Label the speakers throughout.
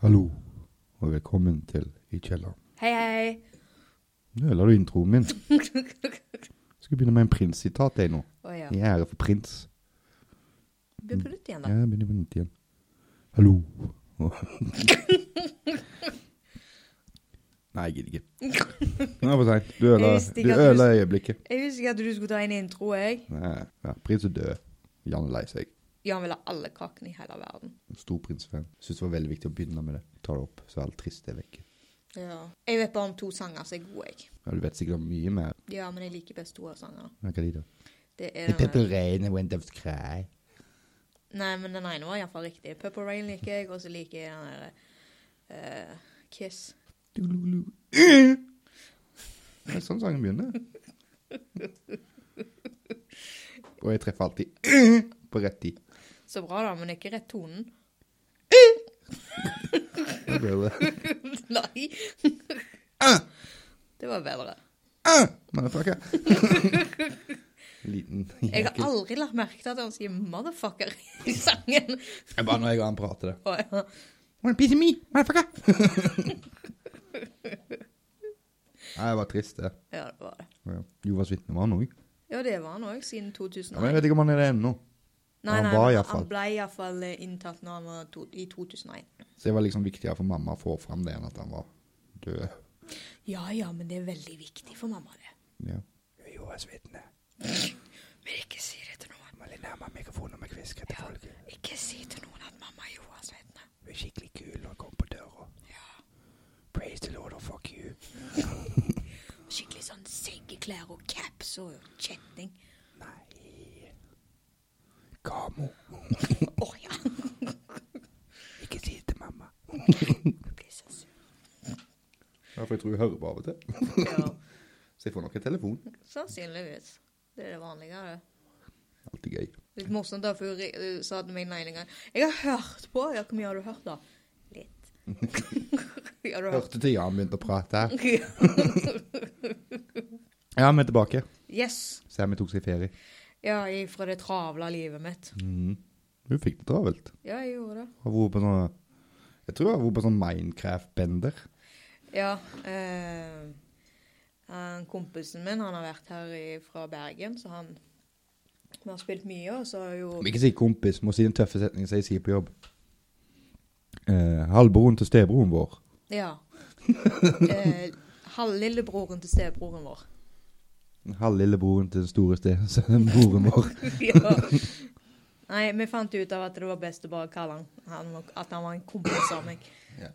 Speaker 1: Hallo, og velkommen til I kjelleren.
Speaker 2: Hei, hei.
Speaker 1: Nå øler du introen min. Skal begynne med en prinssitat jeg nå.
Speaker 2: Å ja.
Speaker 1: I ære for prins.
Speaker 2: Begynn på nytt igjen, da.
Speaker 1: Ja, jeg begynner på nytt igjen. Hallo. Nei, jeg gidder ikke. Nå er det for seint. Du
Speaker 2: Jeg
Speaker 1: øler,
Speaker 2: visste
Speaker 1: du
Speaker 2: ikke at du-
Speaker 1: øler øyeblikket.
Speaker 2: Jeg visste ikke at du skulle ta en intro, jeg.
Speaker 1: Nei, ja, prins er død. Jan er lei seg.
Speaker 2: Jan vil ha alle kakene i hele verden.
Speaker 1: Stor prinsfan. Syns det var veldig viktig å begynne med det. Ta det opp, så er alt trist er vekke.
Speaker 2: Ja. Jeg vet bare om to sanger som er gode, jeg.
Speaker 1: Ja, du vet sikkert mye mer.
Speaker 2: Ja, men jeg liker best to av sangene.
Speaker 1: Hva er de da?
Speaker 2: Det er
Speaker 1: The purple rain and wind of cry.
Speaker 2: Nei, men den ene var iallfall riktig. Purple Rain liker jeg, og så liker jeg den derre Kiss.
Speaker 1: Dululu. Det er sånn sangen begynner. Og jeg treffer alltid på rett tid.
Speaker 2: Så bra, da, men ikke rett tonen.
Speaker 1: Da blir det
Speaker 2: Nei. Ah! det var bedre.
Speaker 1: Motherfucker. Liten
Speaker 2: Jeg har
Speaker 1: jækel.
Speaker 2: aldri lagt merke til at han sier 'motherfucker' i sangen.
Speaker 1: Det er Bare når jeg og han prater det.
Speaker 2: Å, ja.
Speaker 1: Wanna piece of me, motherfucker? Nei, det var trist, det.
Speaker 2: ja, det var det.
Speaker 1: Ja. Jovas vitne var han òg.
Speaker 2: Ja, det var han òg, siden
Speaker 1: Ja, men
Speaker 2: 2001.
Speaker 1: jeg vet ikke om han er det ennå.
Speaker 2: Nei,
Speaker 1: Han
Speaker 2: nei,
Speaker 1: var i
Speaker 2: men
Speaker 1: hvert fall.
Speaker 2: han ble iallfall eh, inntatt når han var to, i 2001.
Speaker 1: Så det var liksom viktigere for mamma å få fram det enn at han var død.
Speaker 2: Ja ja, men det er veldig viktig for mamma, det.
Speaker 1: Ja. Jovas vitne.
Speaker 2: Men ikke si det til noen.
Speaker 1: Må litt nærmere mikrofonen med kvisker til folket.
Speaker 2: Ikke si til noen at mamma er Johans vitne.
Speaker 1: Hun er skikkelig kul når hun kommer på døra. Praise the Lord og fuck you.
Speaker 2: Skikkelig sånn seggeklær og caps og kjetting.
Speaker 1: Nei. Kamo.
Speaker 2: Å ja.
Speaker 1: Ikke si det til mamma.
Speaker 2: Jeg blir så sur.
Speaker 1: Ja, for jeg tror hun hører på av og til.
Speaker 2: Ja,
Speaker 1: Så jeg får nok en telefon.
Speaker 2: sannsynligvis. Det er det vanlige, det.
Speaker 1: Alltid gøy.
Speaker 2: Litt morsomt da, for hun ri- hun sa til meg den ene gangen Jeg har hørt på. Ja, hvor mye har du hørt, da? Litt. ja, du har hørt.
Speaker 1: Hørte til Jan begynte å prate.
Speaker 2: Ja.
Speaker 1: Ja, vi er tilbake.
Speaker 2: Yes.
Speaker 1: Sammy tok seg ferie. Mm.
Speaker 2: Ja, jeg- fra det travle livet mitt.
Speaker 1: Hun fikk det travelt.
Speaker 2: Ja, jeg gjorde det.
Speaker 1: Har vært på sånn Jeg tror hun har vært på sånn Minecraft-bender.
Speaker 2: Ja. Eh, han, kompisen min han har vært her i, fra Bergen, så han Vi har spilt mye, og så har jo
Speaker 1: Må Ikke si kompis, må si den tøffe setningen som jeg sier på jobb. Eh, halvbroren til stebroren vår.
Speaker 2: Ja. Eh, Halvlillebroren til stebroren vår.
Speaker 1: Halvlillebroren til den store stesønnen, broren vår.
Speaker 2: ja. Nei, vi fant ut av at det var best å bare kalle han, han var- at han var en kompis av meg.
Speaker 1: Ja.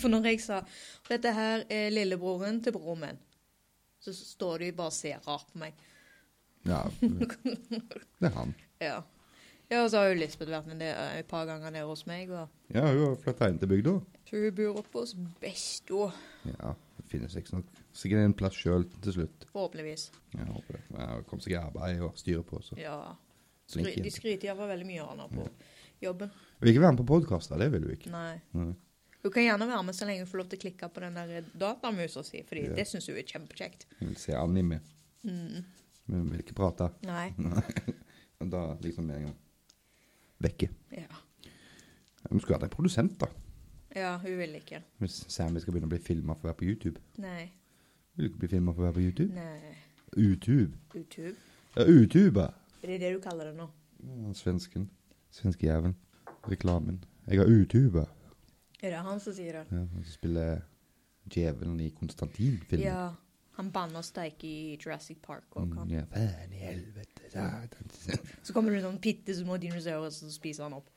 Speaker 2: For når jeg sa dette her er lillebroren til broren min, så står de bare og ser rart på meg.
Speaker 1: ja. Det er han.
Speaker 2: Ja. ja, og så har jo Lisbeth vært med det, eh, et par ganger nede hos meg. Og
Speaker 1: Ja, hun har flytta inn til bygda.
Speaker 2: så hun bor oppe hos besto,
Speaker 1: Ja, det finnes ikke nok. Sikkert en plass sjøl til slutt.
Speaker 2: forhåpentligvis.
Speaker 1: Jeg håper det. Ja, Hun kom seg i arbeid og styre på. Så.
Speaker 2: Ja.
Speaker 1: Så
Speaker 2: Skry, de
Speaker 1: ikke
Speaker 2: skryter iallfall veldig mye av henne på jobben.
Speaker 1: vil ikke være med på podkaster, det vil hun ikke.
Speaker 2: Nei.
Speaker 1: Nei.
Speaker 2: Hun kan gjerne være med så lenge hun får lov til å klikke på den der datamusa si, fordi
Speaker 1: Ja.
Speaker 2: det syns hun er kjempekjekt.
Speaker 1: Hun vil se anime,
Speaker 2: Mm.
Speaker 1: men hun vil ikke prate.
Speaker 2: Nei.
Speaker 1: Nei. Og Da liksom med en gang vekke.
Speaker 2: Ja.
Speaker 1: Vi skulle hatt en produsent, da.
Speaker 2: ja, hun vil ikke.
Speaker 1: Hvis Sammy skal begynne å bli filma for å være på YouTube.
Speaker 2: Nei.
Speaker 1: Vil du ikke bli filma for å være på YouTube?
Speaker 2: Nei.
Speaker 1: YouTube.
Speaker 2: YouTube?
Speaker 1: Ja, YouTube.
Speaker 2: Er det det du kaller det nå?
Speaker 1: Ja, Svensken. Svenskejævelen. Reklamen. Jeg har YouTube.
Speaker 2: Er det han som sier det?
Speaker 1: Ja, og så spiller djevelen i Konstantin-filmen.
Speaker 2: Ja. Han banner og steiker i Jurassic Park. Og
Speaker 1: Mm,
Speaker 2: han.
Speaker 1: ja, faen i helvete, satan.
Speaker 2: Så kommer det noen bitte små dinosaurer, og så spiser han opp.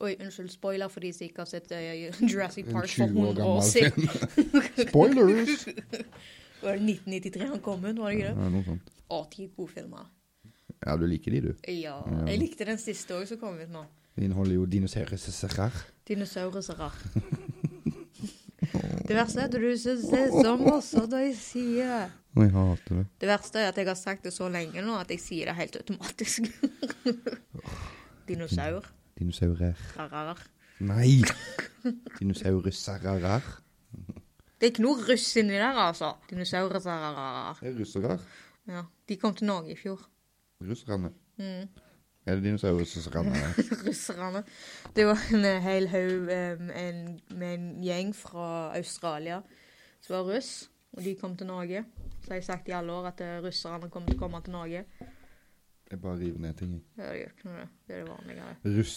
Speaker 2: Oi, unnskyld, spoiler for de som ikke har sett eh, Jurassic
Speaker 1: En
Speaker 2: Park
Speaker 1: 20
Speaker 2: for
Speaker 1: år
Speaker 2: 100 år
Speaker 1: gammel
Speaker 2: siden.
Speaker 1: Spoilers!
Speaker 2: Var det 1993 han kom ut, var det
Speaker 1: Ja,
Speaker 2: ikke det?
Speaker 1: noe sånt.
Speaker 2: Å, de er gode filmer.
Speaker 1: Ja, du liker de, du.
Speaker 2: Ja.
Speaker 1: Ja.
Speaker 2: Jeg likte den siste òg som kom ut nå.
Speaker 1: De inneholder jo dinosaurer.
Speaker 2: Dinosaurer så rart. Det verste er at du syns det er så morsomt når jeg sier det.
Speaker 1: Og jeg hater det.
Speaker 2: Det verste er at jeg har sagt det så lenge nå at jeg sier det helt automatisk. Dinosaur.
Speaker 1: Dinosaurer.
Speaker 2: Rarar.
Speaker 1: Nei! Dinosaurussarer.
Speaker 2: Det er ikke noe russ inni der, altså. Dinosaurer. rarar.
Speaker 1: Det er russere.
Speaker 2: Ja. De kom til Norge i fjor.
Speaker 1: Russerne.
Speaker 2: Mm.
Speaker 1: Er det dinosaurer som renner her?
Speaker 2: russerne. Det var en eh, hel haug eh, en- med en gjeng fra Australia som var russ, og de kom til Norge. Så har jeg sagt i alle år at eh, russerne kommer til å komme til Norge.
Speaker 1: Jeg bare river ned ting. jeg.
Speaker 2: Ja, Det gjør ikke noe, det. Det er det vanlige.
Speaker 1: Russ,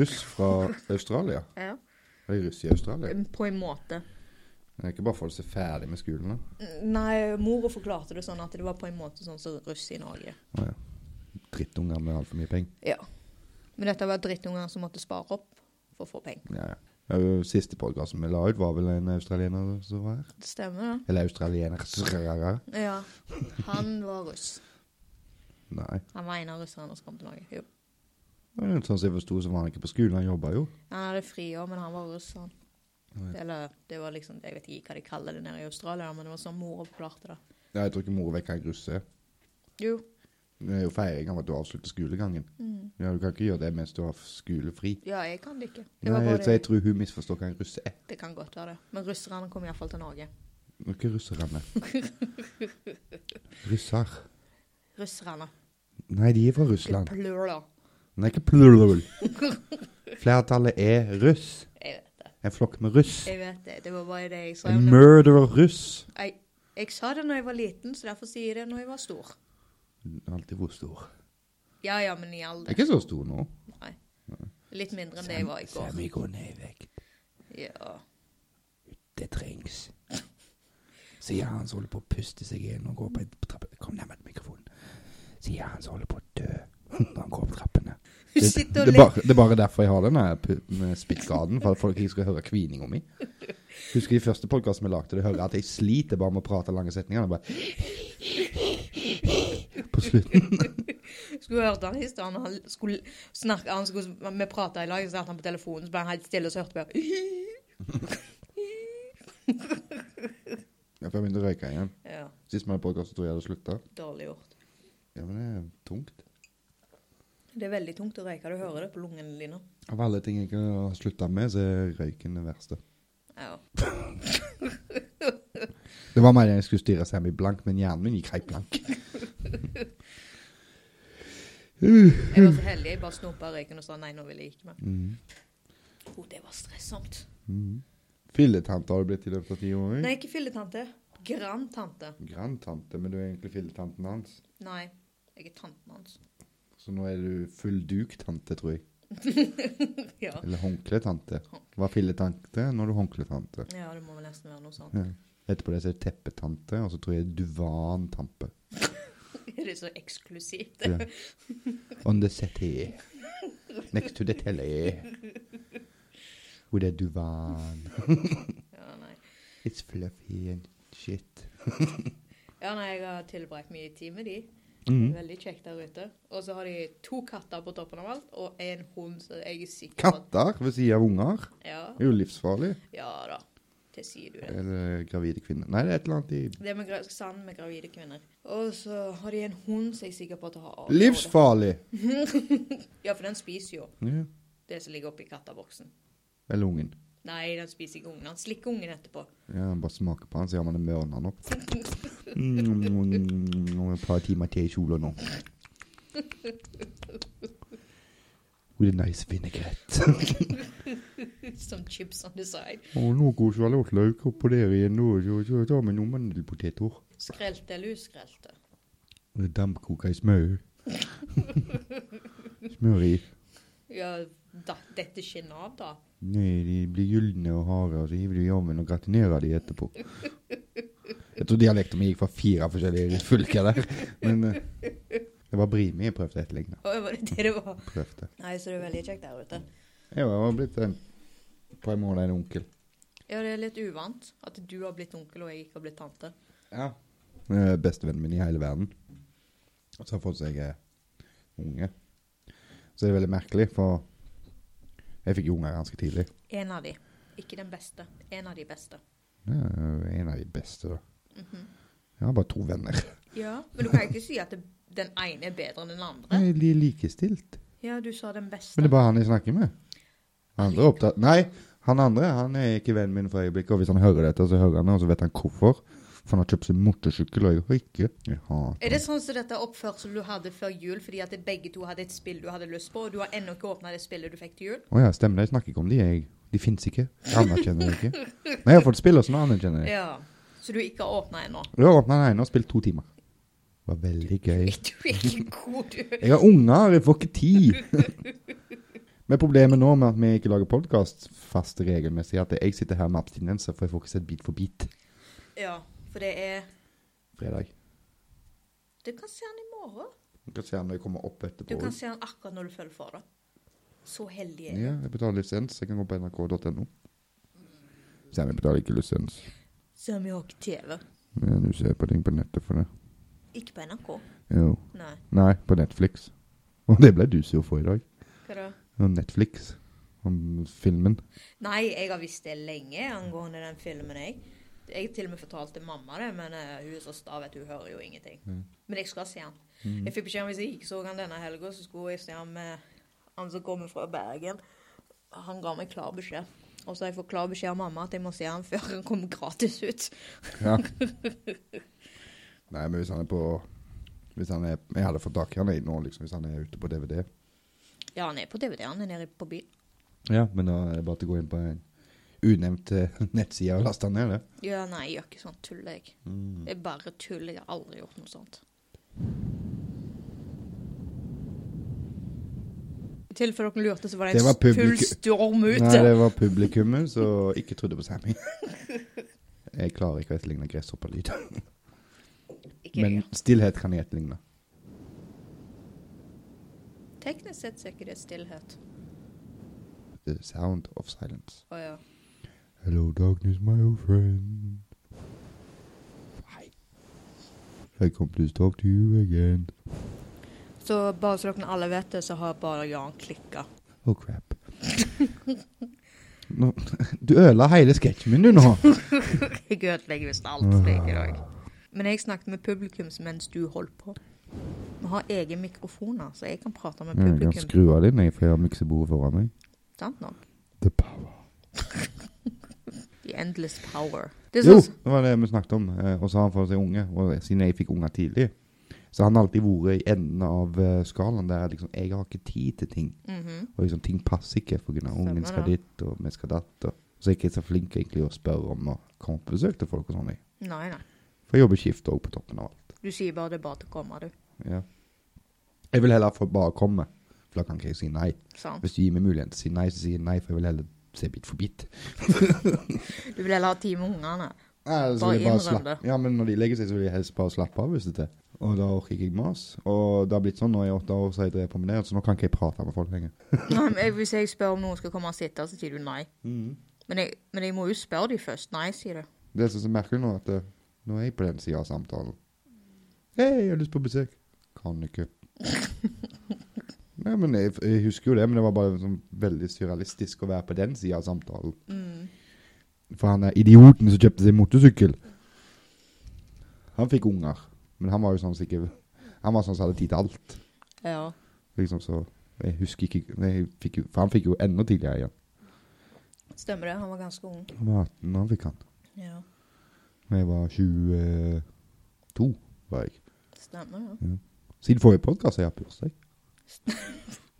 Speaker 1: russ fra Australia?
Speaker 2: Ja,
Speaker 1: Er det russ i Australia?
Speaker 2: på en måte.
Speaker 1: Det er ikke bare folk som er ferdig med skolen, da?
Speaker 2: Nei, mora forklarte det sånn at det var på en måte sånn som russ i Norge.
Speaker 1: Å ja. Drittunger med altfor mye penger.
Speaker 2: Ja. Men dette var drittunger som måtte spare opp for å få penger.
Speaker 1: Ja, ja. Ja, jo, Siste podkasten vi la ut, var vel en australiener som var her?
Speaker 2: Det stemmer,
Speaker 1: Eller australiener
Speaker 2: det. Ja. Han var russ.
Speaker 1: Nei.
Speaker 2: Han var en av russerne som kom til Norge. Jo.
Speaker 1: Det er jo Sånn som jeg forsto, så var han ikke på skolen, han jobba jo.
Speaker 2: Han hadde friår, men han var russ, han.
Speaker 1: Ja, ja.
Speaker 2: Eller det var liksom Jeg vet ikke hva de kaller det nede i Australia, men det var sånn mora forklarte det.
Speaker 1: Ja, Jeg tror ikke mor vet hva en russ er.
Speaker 2: Jo. Mm.
Speaker 1: Det er jo feiring av at du avslutter skolegangen. Ja, Du kan ikke gjøre det mens du har skolefri.
Speaker 2: Ja, jeg kan det ikke. Det
Speaker 1: Nei,
Speaker 2: var
Speaker 1: jeg,
Speaker 2: bare
Speaker 1: så jeg
Speaker 2: det.
Speaker 1: tror hun misforstår hva en russ er.
Speaker 2: Det kan godt være det. Men russerne kom iallfall til Norge.
Speaker 1: Det er Ikke russerne. Russer.
Speaker 2: Russerne.
Speaker 1: Nei, de er fra
Speaker 2: Ikke
Speaker 1: Russland.
Speaker 2: plural.
Speaker 1: Nei, ikke plural. Flertallet er russ.
Speaker 2: Jeg vet det.
Speaker 1: En flokk med russ.
Speaker 2: Jeg vet det. Det var bare det jeg sa.
Speaker 1: En murderer russ.
Speaker 2: Jeg, jeg sa det når jeg var liten, så derfor sier jeg det når jeg var stor.
Speaker 1: Alltid hvor stor.
Speaker 2: Ja ja, men i
Speaker 1: Jeg er
Speaker 2: alder.
Speaker 1: ikke så stor nå.
Speaker 2: Nei. Litt mindre enn det jeg var i går.
Speaker 1: vi går ned i vekt.
Speaker 2: Ja.
Speaker 1: Det trengs. Sier han som holder på å puste seg inn og går på en trappe. Kom nærmere mikrofonen. Sier han som holder på å dø når han går opp trappene.
Speaker 2: Hun
Speaker 1: Det,
Speaker 2: sitter
Speaker 1: det,
Speaker 2: og
Speaker 1: er
Speaker 2: ler.
Speaker 1: bare, det er bare derfor jeg har denne pu- med spyttgraden, for at folk ikke skal høre kvininga mi. Husker de første podkastene vi lagde, de hører at jeg sliter bare med å prate lange setninger. og Bare på slutten.
Speaker 2: Skulle hørt han i stedet. Han skulle snakke han skulle, Vi prata i lag, så satt han på telefonen, så ble han helt stille, og så hørte vi
Speaker 1: Jeg får begynne å røyke igjen.
Speaker 2: Ja.
Speaker 1: Sist vi hadde podkast, tror jeg jeg hadde slutta.
Speaker 2: Dårlig gjort.
Speaker 1: Ja, men det er tungt.
Speaker 2: Det er veldig tungt å røyke. Du hører det på lungene dine.
Speaker 1: Av alle ting jeg kan ha slutta med, så er røyken det verste.
Speaker 2: Ja.
Speaker 1: Det var mer enn jeg skulle styre semi blank, men hjernen min gikk helt blank.
Speaker 2: Jeg var så heldig. Jeg bare snopa røyken og sa nei, nå vil jeg ikke mer.
Speaker 1: Mm.
Speaker 2: Å, det var stressomt.
Speaker 1: Mm. Filletante har du blitt i løpet av ti år?
Speaker 2: Nei, ikke filletante. Grandtante.
Speaker 1: Grandtante, men du er egentlig filletanten hans.
Speaker 2: Nei. Jeg er tanten hans.
Speaker 1: Så nå er du full duk-tante, tror jeg.
Speaker 2: Ja.
Speaker 1: Eller håndkletante. Hva er filletante? Nå er du håndkletante.
Speaker 2: ja, det må vel nesten være noe sånt.
Speaker 1: Ja. Etterpå det så er det teppetante, og så tror jeg duvantante.
Speaker 2: Det er så eksklusivt.
Speaker 1: Ja. On the settee. Next to the telly. Hvor det er duvan.
Speaker 2: Ja, nei.
Speaker 1: It's fluffy and shit.
Speaker 2: Ja, nei, jeg har tilbrakt mye tid med de.
Speaker 1: Mhm.
Speaker 2: Veldig kjekt der ute. Og så har de to katter på toppen av alt, og en hund, så jeg er sikker på at
Speaker 1: Katter ved siden av unger.
Speaker 2: ja,
Speaker 1: Det er jo livsfarlig.
Speaker 2: ja da. Det sier du det.
Speaker 1: Eller gravide kvinner. Nei, det er et eller annet i
Speaker 2: Det er med gra sand med gravide kvinner. Og så har de en hund som jeg er sikker på at har
Speaker 1: Livsfarlig!
Speaker 2: Ja, for den spiser jo
Speaker 1: Ja.
Speaker 2: det som ligger oppi katteboksen.
Speaker 1: Eller ungen.
Speaker 2: Nei, den spiser ikke ungen. Han slikker ungen etterpå.
Speaker 1: Ja, han bare smaker på han, så gjør man det mørna nå. Mm, et par timer til i sola nå. With a nice vinaigrette.
Speaker 2: Som chips on the side.
Speaker 1: Og noe sjalottløk oppå der igjen, nå, så så tar vi noen mandelpoteter.
Speaker 2: Skrelte eller uskrelte?
Speaker 1: Og dampkoker i smør. Smør i.
Speaker 2: Ja, da, dette skinner av, da.
Speaker 1: Nei, de blir gylne og harde, og så hiver du i ovnen og gratinerer de etterpå. Jeg tror dialekten min gikk fra fire forskjellige fylker der. Men eh, det var brimi jeg prøvde å etterligne.
Speaker 2: Å, var det det det var?
Speaker 1: Prøvde.
Speaker 2: Nei, så det er veldig kjekt der ute.
Speaker 1: Jeg var blitt en, på en måte en onkel.
Speaker 2: Ja, det er litt uvant at du har blitt onkel og jeg ikke har blitt tante.
Speaker 1: Ja. Eh, Bestevennen min i hele verden. Så har fått seg eh, unge. Så er det veldig merkelig, for jeg fikk jo unger ganske tidlig.
Speaker 2: En av de. Ikke den beste. En av de beste. Mhm.
Speaker 1: Ja, en av de beste, da. Jeg har bare to venner.
Speaker 2: Ja, men du kan ikke si at det, den ene er bedre enn den andre.
Speaker 1: Nei, de er likestilt.
Speaker 2: Ja, du sa den
Speaker 1: Mm. Men det
Speaker 2: beste.
Speaker 1: er bare han jeg snakker med. Han andre er opptatt Nei, han andre han er ikke vennen min for øyeblikket. Og hvis han hører dette, så hører han det, og så vet han hvorfor. For han har kjøpt seg motorsykkel, og jeg har ikke. Jeg hater
Speaker 2: Er det sånn som dette oppførselen du hadde før jul fordi at begge to hadde et spill du hadde lyst på, og du har ennå ikke åpna det spillet du fikk til jul?
Speaker 1: Å ja, stemmer det. Jeg snakker ikke om de, jeg. De fins ikke. Jeg anerkjenner det ikke. Nei, jeg har fått spille, så nå anerkjenner jeg.
Speaker 2: Ja. Så du ikke har åpna ennå?
Speaker 1: Jeg har åpna den ene og spilt to timer. Det var veldig gøy.
Speaker 2: Du er ikke god, du.
Speaker 1: Jeg har unger, jeg får ikke tid. Men problemet nå med at vi ikke lager podkast fast regelmessig, er at jeg sitter her med abstinenser, for jeg får ikke sett Bit for bit
Speaker 2: Ja, for det er
Speaker 1: fredag.
Speaker 2: Du kan se den i morgen.
Speaker 1: Du kan se når jeg kommer opp
Speaker 2: Du
Speaker 1: etterpå.
Speaker 2: kan se den akkurat når du føler for det. Så heldig er jeg.
Speaker 1: Ja, jeg betaler lisens. Jeg kan gå på nrk.no. Selv om jeg betaler ikke lisens.
Speaker 2: Som jeg har ikke TV.
Speaker 1: Men du ser på ting på nettet for det.
Speaker 2: Ikke på NRK.
Speaker 1: Jo.
Speaker 2: Nei.
Speaker 1: Nei, på Netflix. Og det ble du sur for i dag.
Speaker 2: Hva da?
Speaker 1: Om Netflix. Om filmen.
Speaker 2: Nei, jeg har visst det lenge angående den filmen, jeg. Jeg til og med fortalte mamma det, men eh, hun er så sta, vet du, hun hører jo ingenting. Men jeg skal se den. Jeg fikk beskjed om hvis jeg ikke så han denne helga, så skulle jeg se han med han som kommer fra Bergen. Han ga meg klar beskjed. Og så har jeg fått klar beskjed av mamma at jeg må se han før han kommer gratis ut.
Speaker 1: Ja. Nei, men hvis han er på Hvis han er Jeg hadde fått tak i han jeg, nå, liksom, hvis han er ute på DVD.
Speaker 2: Ja, han er på DVD, han er nede på byen.
Speaker 1: Ja, men da er det bare til å gå inn på en unevnt eh, nettside og laste han ned det.
Speaker 2: Ja, nei, jeg gjør ikke sånn tull, jeg. Det er bare tull. Jeg har aldri gjort noe sånt. I tilfelle dere lurte, så var det
Speaker 1: Det
Speaker 2: en
Speaker 1: var
Speaker 2: full
Speaker 1: publikum-
Speaker 2: storm ute.
Speaker 1: Nei, det var publikummet som ikke trodde på Sammy. Jeg klarer ikke å etterligne gresshoppelyd.
Speaker 2: Ikke
Speaker 1: Men
Speaker 2: jeg.
Speaker 1: stillhet kan jeg etterligne.
Speaker 2: Teknisk sett så er ikke det stillhet.
Speaker 1: The sound of silence.
Speaker 2: Å ja.
Speaker 1: Hello darkness, my old friend. Hi. I come to talk to you again.
Speaker 2: Så bare så dere alle vet det, så har bare Jan klikka.
Speaker 1: Oh crap. Nå, du ødela hele sketsjen min, du nå.
Speaker 2: Jeg ødelegger visst alt for deg i dag. Men jeg snakket med publikum mens du holdt på. Vi har egen mikrofoner, så jeg kan prate med
Speaker 1: Mm, Jeg kan
Speaker 2: publikum.
Speaker 1: skru av den, jeg, for jeg har miksebordet foran meg.
Speaker 2: Sant nok?
Speaker 1: The power.
Speaker 2: The endless power. Det er
Speaker 1: Jo,
Speaker 2: sånn
Speaker 1: det var det vi snakket om. eh, Og så har han fått seg unge. Og siden jeg fikk unger tidlig, så har han alltid vært i enden av eh, skalaen der liksom Jeg har ikke tid til ting.
Speaker 2: Mhm.
Speaker 1: Og liksom ting passer ikke pga. ungen
Speaker 2: Stemmer
Speaker 1: skal
Speaker 2: det.
Speaker 1: dit, og vi skal datt. Og så er jeg ikke så flink egentlig å spørre om å komme på besøk til folk og sånn. jeg.
Speaker 2: Nei, nei.
Speaker 1: For jeg jobber skift òg, på toppen av alt.
Speaker 2: Du sier bare det er bare til å komme, du.
Speaker 1: Ja. Jeg vil heller få bare komme, for da kan ikke jeg si nei.
Speaker 2: Sant.
Speaker 1: Hvis du gir meg muligheten til å si nei, så sier jeg nei, for jeg vil heller se bit for bit.
Speaker 2: Du vil heller ha tid med ungene.
Speaker 1: Nei, så vil
Speaker 2: Bare
Speaker 1: jeg bare
Speaker 2: innrøm
Speaker 1: slappe. Ja, men når de legger seg, så vil jeg helst bare slappe av hvis det er. Og da orker jeg ikke mas. Og det har blitt sånn nå i åtte år, så har jeg drevet promenert, så nå kan ikke jeg prate med folk lenger.
Speaker 2: Nei, men jeg- Hvis jeg spør om noen skal komme og sitte, så sier du nei. Men jeg, men jeg må jo spørre de først. Nei, sier du.
Speaker 1: Det som er så merkelig nå, er at eh, nå er jeg på den siden av samtalen. Hei, jeg har lyst på besøk. Kan ikke. Nei, men jeg, jeg husker jo det, men det var bare sånn veldig surrealistisk å være på den siden av samtalen.
Speaker 2: Mm.
Speaker 1: For han er idioten som kjøpte seg motorsykkel. Han fikk unger, men han var jo sånn sikkert, han var sånn som hadde tid til alt.
Speaker 2: Ja.
Speaker 1: Liksom så, jeg husker ikke, nei, jeg fikk, jo- for han fikk jo enda tidligere igjen.
Speaker 2: Stemmer det. Han var ganske ung.
Speaker 1: Han var 18, da han fikk han.
Speaker 2: Ja.
Speaker 1: Da jeg var 22, var jeg.
Speaker 2: Stemmer det.
Speaker 1: Siden forrige podkast har jeg hatt bursdag.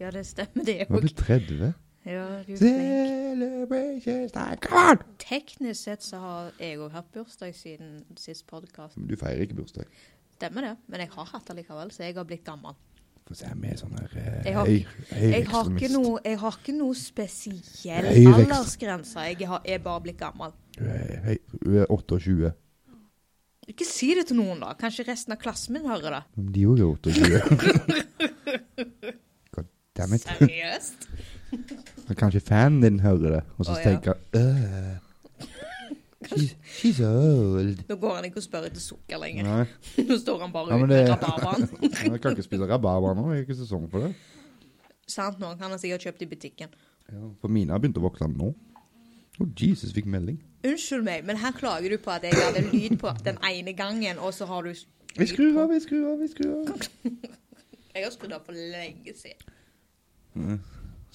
Speaker 2: Ja, det stemmer det
Speaker 1: Jeg var
Speaker 2: òg.
Speaker 1: blitt 30.
Speaker 2: Ja, du er flink.
Speaker 1: Celebration time. Come on!
Speaker 2: Teknisk sett så har jeg òg hatt bursdag siden sist podkast.
Speaker 1: Men du feirer ikke bursdag.
Speaker 2: Stemmer det. Men jeg har hatt det likevel, så jeg har blitt gammel.
Speaker 1: For se, vi er sånn her
Speaker 2: Jeg har- Jeg har
Speaker 1: liksom,
Speaker 2: ikke noe, jeg har ikke noe spesiell
Speaker 1: Høyreekstrem-
Speaker 2: aldersgrense. Jeg har, er bare blitt gammel.
Speaker 1: Hun er 28.
Speaker 2: Ikke si det til noen, da. Kanskje resten av klassen min hører det.
Speaker 1: Men de òg er 28. God damn it.
Speaker 2: Seriøst?
Speaker 1: Men Kanskje fanen din hører det, og så
Speaker 2: Å, ja.
Speaker 1: tenker han she's, she's old.
Speaker 2: Nå går han ikke og spør etter sukker lenger.
Speaker 1: Nei,
Speaker 2: Nå står han bare
Speaker 1: Ja, men
Speaker 2: ute med
Speaker 1: det-
Speaker 2: rabarberen.
Speaker 1: jeg kan ikke spise rabarber nå. Det er ikke sesong for det.
Speaker 2: Sant nå, han har sikkert kjøpt i butikken.
Speaker 1: Ja, for mine har begynt å vokse nå. Oh, Jesus fikk melding.
Speaker 2: Unnskyld meg, men her klager du på at jeg hadde lyd på den ene gangen, og så har du
Speaker 1: Vi skrur av, vi skrur av, vi skrur av.
Speaker 2: Jeg har skrudd av for lenge siden.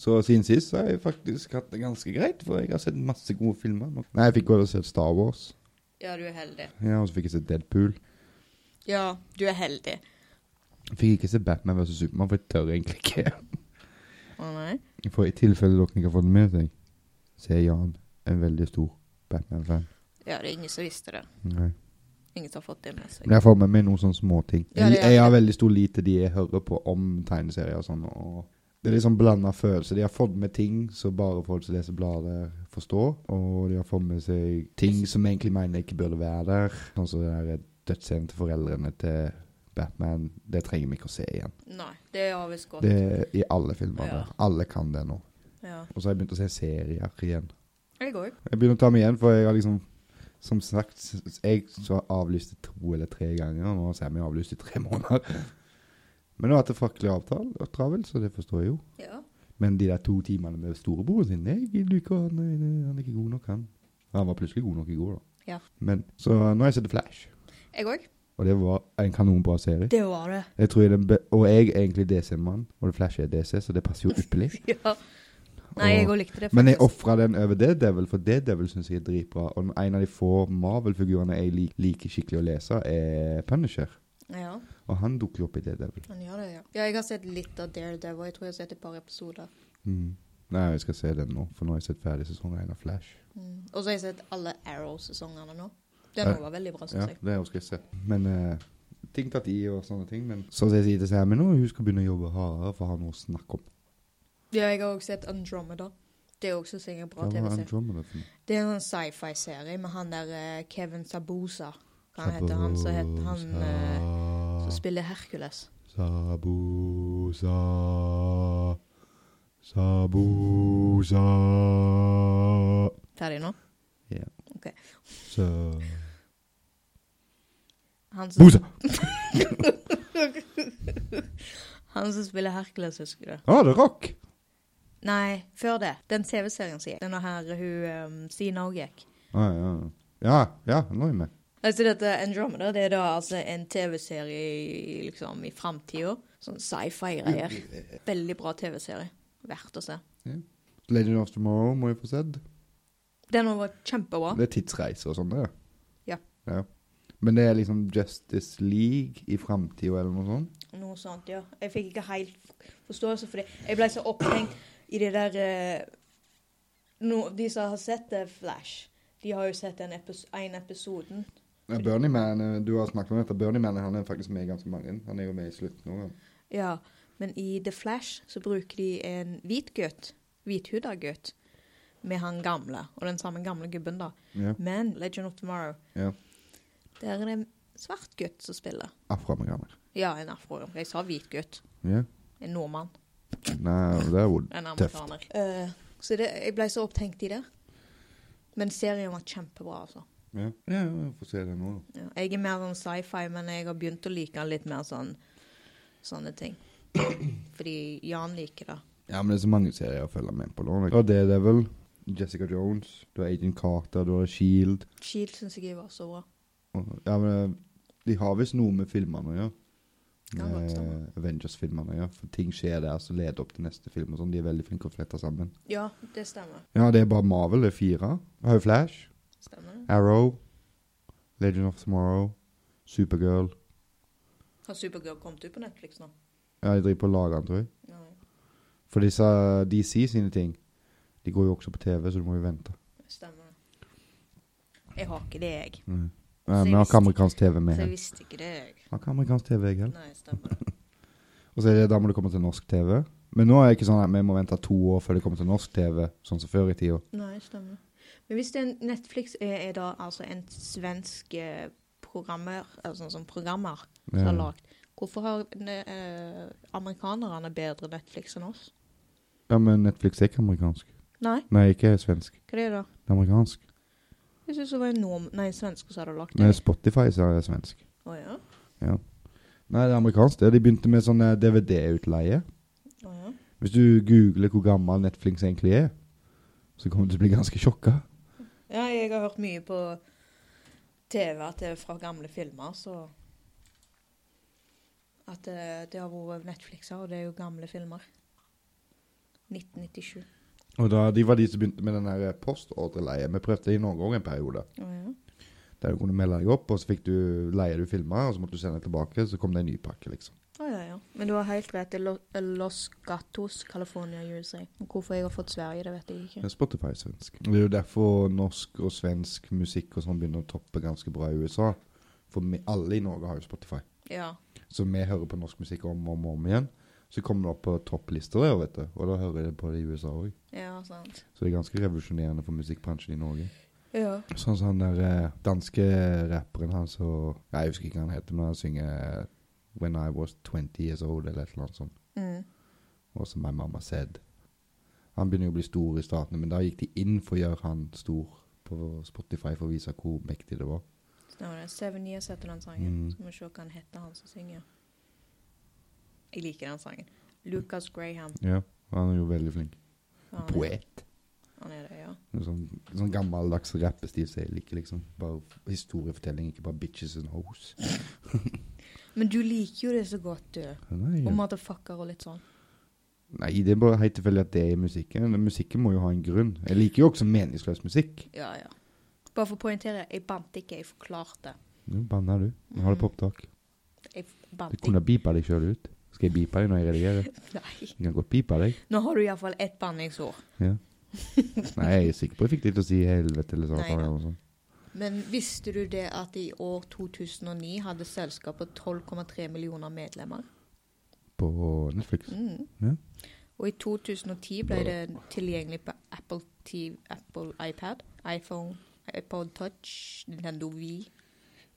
Speaker 1: Så siden sist så har jeg faktisk hatt det ganske greit, for jeg har sett masse gode filmer. Nei, jeg fikk gå og se Star Wars.
Speaker 2: Ja, du er heldig.
Speaker 1: Ja, og så fikk jeg se Deadpool.
Speaker 2: Ja, du er heldig.
Speaker 1: Fikk ikke se Batman vs. Supermann, for jeg tør egentlig ikke.
Speaker 2: Å nei?
Speaker 1: For i tilfelle dere ikke har fått det med seg, så er Jan en veldig stor Batman-fan.
Speaker 2: Ja, det er ingen som visste det.
Speaker 1: Nei.
Speaker 2: Ingen som har fått det med seg.
Speaker 1: Men jeg får med meg noen sånne småting.
Speaker 2: Ja, det
Speaker 1: Jeg,
Speaker 2: gjør
Speaker 1: jeg har
Speaker 2: det.
Speaker 1: veldig stor lit til de jeg hører på om tegneserier og sånn. Og det er liksom blanda følelser. De har fått med ting som bare folk som leser bladet, forstår. Og de har fått med seg ting som egentlig mener ikke burde være der. Sånn som den der dødsscenen til foreldrene til Batman. Det trenger vi ikke å se igjen.
Speaker 2: Nei, det har visst gått.
Speaker 1: Det er i alle filmene.
Speaker 2: Ja.
Speaker 1: Alle kan det nå.
Speaker 2: Ja.
Speaker 1: Og så har jeg begynt å se serier igjen.
Speaker 2: Jeg òg.
Speaker 1: Jeg begynner å ta meg igjen, for jeg har liksom Som sagt, s- s- jeg så avlyste to eller tre ganger, og nå har vi avlyst i tre måneder. Men nå har jeg hatt en fryktelig avtale og travel, så det forstår jeg jo.
Speaker 2: Ja.
Speaker 1: Men de der to timene med storebroren sin Jeg gidder ikke, han er, han er ikke god nok, han. Han var plutselig god nok i går, da.
Speaker 2: Ja.
Speaker 1: Men, så nå har jeg sett The Flash,
Speaker 2: Jeg òg.
Speaker 1: og det var en kanonbra serie.
Speaker 2: Det var det.
Speaker 1: Jeg tror jeg den be og jeg er egentlig DC-mann, og The Flash er DC, så det passer jo ypperlig.
Speaker 2: Ja. Nei, jeg òg likte det.
Speaker 1: Men jeg ofra den over Daredevil, for Daredevil syns jeg er dritbra. Og en av de få Marvel-figurene jeg lik, liker skikkelig å lese, er Punisher.
Speaker 2: Ja,
Speaker 1: Og han dukker jo opp i Daredevil.
Speaker 2: han gjør det, ja. Ja, jeg har sett litt av Daredevil. Jeg tror jeg har sett et par episoder.
Speaker 1: Mm. Nei, jeg skal se den nå, for nå har jeg sett ferdig sesong én av Flash.
Speaker 2: Mm. Og så har jeg sett alle Arrow-sesongene nå. Den
Speaker 1: Ja.
Speaker 2: også var veldig bra,
Speaker 1: Ja,
Speaker 2: syns jeg.
Speaker 1: det skal jeg se. Men eh, ting tatt i og sånne ting. Men så jeg sier til Sammy nå, hun skal begynne å jobbe hardere for å ha noe å snakke om.
Speaker 2: Ja, jeg har også sett Andromeda. Det er også synes jeg er en bra
Speaker 1: Hva var
Speaker 2: TV-serie.
Speaker 1: Andromeda for noe?
Speaker 2: Det er en sånn sci-fi-serie med han der eh, Kevin Sabusa. Hva han heter han som heter han eh, som spiller Hercules?
Speaker 1: Sabusa Sabusa
Speaker 2: Ferdig nå?
Speaker 1: Ja.
Speaker 2: Ok.
Speaker 1: Sa
Speaker 2: Han som,
Speaker 1: Busa!
Speaker 2: han som spiller Hercules, husker du?
Speaker 1: Ja, Ah, det er rock!
Speaker 2: Nei, før det. Den TV-serien som gikk. Den her hun um, Sina òg gikk.
Speaker 1: Ja, Ah, ja. ja, ja, nå er jeg med.
Speaker 2: Altså dette Andromeda, det er da altså en TV-serie i- liksom i framtida. Sånn sci-fi-greier. Veldig bra TV-serie. Verdt å se.
Speaker 1: Legend of Tomorrow må jeg få sett.
Speaker 2: Den også var kjempebra.
Speaker 1: Det er tidsreiser og sånn, det.
Speaker 2: Ja.
Speaker 1: ja. Men det er liksom Justice League i framtida eller noe sånt?
Speaker 2: Noe sånt, ja. Jeg fikk ikke helt forståelse for det. Jeg ble så opphengt i det der eh, no, De som har sett eh, Flash, de har jo sett den epis en episoden.
Speaker 1: Ja, Bernie Man, eh, du har snakket om dette. Bernie Man han er faktisk med i ganske mange. Han er jo med i slutten òg.
Speaker 2: Ja, men i The Flash så bruker de en hvit gutt, hvithuda gutt, med han gamle, og den samme gamle gubben, da.
Speaker 1: Ja.
Speaker 2: Men Legend of Tomorrow,
Speaker 1: ja.
Speaker 2: der er det en svart gutt som spiller.
Speaker 1: Afroamerikaner.
Speaker 2: Ja, en afro. Jeg sa hvit gutt.
Speaker 1: Ja.
Speaker 2: En nordmann.
Speaker 1: Nei, det er jo
Speaker 2: En
Speaker 1: Tøft.
Speaker 2: amerikaner. Eh, så det, jeg ble så opptenkt i det. Men serien var kjempebra, altså.
Speaker 1: Ja, ja jeg får se det nå. da.
Speaker 2: Ja, jeg er mer sånn sci-fi, men jeg har begynt å like litt mer sånn sånne ting. Fordi Jan liker det.
Speaker 1: Ja, men det er så mange serier å følge med på nå. liksom. Du har Daredevil, Jessica Jones, du har Agent Carter, du har Shield.
Speaker 2: Shield syns jeg var så bra.
Speaker 1: E Og, ja, men eh, de har visst noe med filmene å gjøre.
Speaker 2: Ja, godt
Speaker 1: Med
Speaker 2: stemmer.
Speaker 1: Avengers-filmene å gjøre. For ting skjer der som leder opp til neste film og sånn. De er veldig flinke å flette sammen.
Speaker 2: Ja, det stemmer.
Speaker 1: Ja, det er bare Marvel, det er fire. Vi har jo Flash,
Speaker 2: Stemmer det?
Speaker 1: Arrow, Legend of Tomorrow, Supergirl.
Speaker 2: Har Supergirl kommet ut på Netflix nå?
Speaker 1: Ja, de driver på lagene, tror jeg.
Speaker 2: Nei,
Speaker 1: For disse DC sine ting, de går jo også på TV, så du må jo vente.
Speaker 2: stemmer det. Jeg har ikke det, jeg.
Speaker 1: Mm.
Speaker 2: Så
Speaker 1: Ja,
Speaker 2: jeg
Speaker 1: vi har
Speaker 2: visste-
Speaker 1: ikke amerikansk TV med.
Speaker 2: Så jeg
Speaker 1: her.
Speaker 2: visste ikke det, jeg.
Speaker 1: Har ikke amerikansk TV, jeg heller.
Speaker 2: Nei, stemmer det.
Speaker 1: Og så er det da må du komme til norsk TV. Men nå er det ikke sånn at vi må vente to år før det kommer til norsk TV, sånn som før i tida.
Speaker 2: Nei, stemmer det. Men hvis det er en Netflix er, er da altså en svensk eh, programmer, altså sånn som programmer, som har
Speaker 1: Ja.
Speaker 2: lagd Hvorfor har eh, amerikanerne bedre Netflix enn oss?
Speaker 1: ja, men Netflix er ikke amerikansk.
Speaker 2: Nei,
Speaker 1: Nei, ikke svensk.
Speaker 2: hva er det da?
Speaker 1: Det er amerikansk.
Speaker 2: Jeg syns det var en nordm... Nei, en svenske som hadde lagd det.
Speaker 1: Men Spotify så er det svensk.
Speaker 2: Å ja?
Speaker 1: Ja. Nei, det er amerikansk. det. De begynte med sånn DVD-utleie.
Speaker 2: Å ja.
Speaker 1: Hvis du googler hvor gammel Netflix egentlig er, så kommer du til å bli ganske sjokka.
Speaker 2: Ja, jeg har hørt mye på TV at det er fra gamle filmer, så At eh, det, det har vært Netflixer, og det er jo gamle filmer. 1997.
Speaker 1: Og da, De var de som begynte med den her postordreleie. Vi prøvde det i Norge òg en periode.
Speaker 2: Å ja.
Speaker 1: Der du kunne melde deg opp, og så fikk du leie du filma, og så måtte du sende det tilbake. Så kom det en ny pakke, liksom.
Speaker 2: Å ja, ja. Men du har helt rett. Det er Lo- eh, Los Gatos, California, USA. Og Hvorfor jeg har fått Sverige, det vet jeg
Speaker 1: Det
Speaker 2: ikke.
Speaker 1: er Spotify svensk. Det er jo derfor norsk og svensk musikk og sånn begynner å toppe ganske bra i USA. For vi, alle i Norge har jo Spotify.
Speaker 2: Ja.
Speaker 1: Så vi hører på norsk musikk om og om, og om igjen. Så kommer det opp på topplister der, vet du. Og da hører jeg det på det i USA òg.
Speaker 2: Ja, sant.
Speaker 1: Så det er ganske revolusjonerende for musikkbransjen i Norge.
Speaker 2: Ja.
Speaker 1: Sånn som han der eh, danske rapperen han som Jeg husker ikke hva han heter, men han synger eh, When I was 20 years old, eller et eller annet sånt.
Speaker 2: Mm.
Speaker 1: Og som my mama said. Han begynner jo å bli stor i statene, men da gikk de inn for å gjøre han stor på Spotify for å vise hvor mektig det var.
Speaker 2: Stemmer det. Seven Years heter den sangen.
Speaker 1: Mm.
Speaker 2: Så må vi se hva han heter, han som synger. Jeg liker den sangen. Lucas Graham.
Speaker 1: Ja, Han er jo veldig flink.
Speaker 2: Han er-
Speaker 1: Poet.
Speaker 2: Han er det, ja.
Speaker 1: En Sånn, sånn gammeldags rappestil som jeg liker, liksom. Bare historiefortelling, ikke bare bitches and hoes.
Speaker 2: Men du liker jo det så godt, du.
Speaker 1: Nei,
Speaker 2: Og motherfucker og litt sånn.
Speaker 1: Nei, det er bare helt tilfeldig at det er i musikken. Musikken må jo ha en grunn. Jeg liker jo også meningsløs musikk.
Speaker 2: Ja, ja. Bare for å poengtere, jeg bandt ikke, jeg forklarte.
Speaker 1: Nå banner du. Nå har det på opptak.
Speaker 2: Jeg
Speaker 1: Du
Speaker 2: bandt
Speaker 1: kunne
Speaker 2: ikke.
Speaker 1: beepa deg sjøl ut. Skal jeg beepe deg når jeg redigerer?
Speaker 2: Nei.
Speaker 1: Jeg kan godt beepe deg.
Speaker 2: Nå har du iallfall ett banningsord.
Speaker 1: Ja. Nei, jeg er sikker på jeg fikk deg til å si helvete eller
Speaker 2: Nei,
Speaker 1: satan
Speaker 2: ja.
Speaker 1: eller noe sånt.
Speaker 2: Men visste du det at i år 2009 hadde selskapet 12,3 millioner medlemmer?
Speaker 1: På Netflix.
Speaker 2: Mm.
Speaker 1: Ja.
Speaker 2: Og i 2010 ble det tilgjengelig på Apple TV, Apple iPad, iPhone, iPod Touch, Nintendo Wii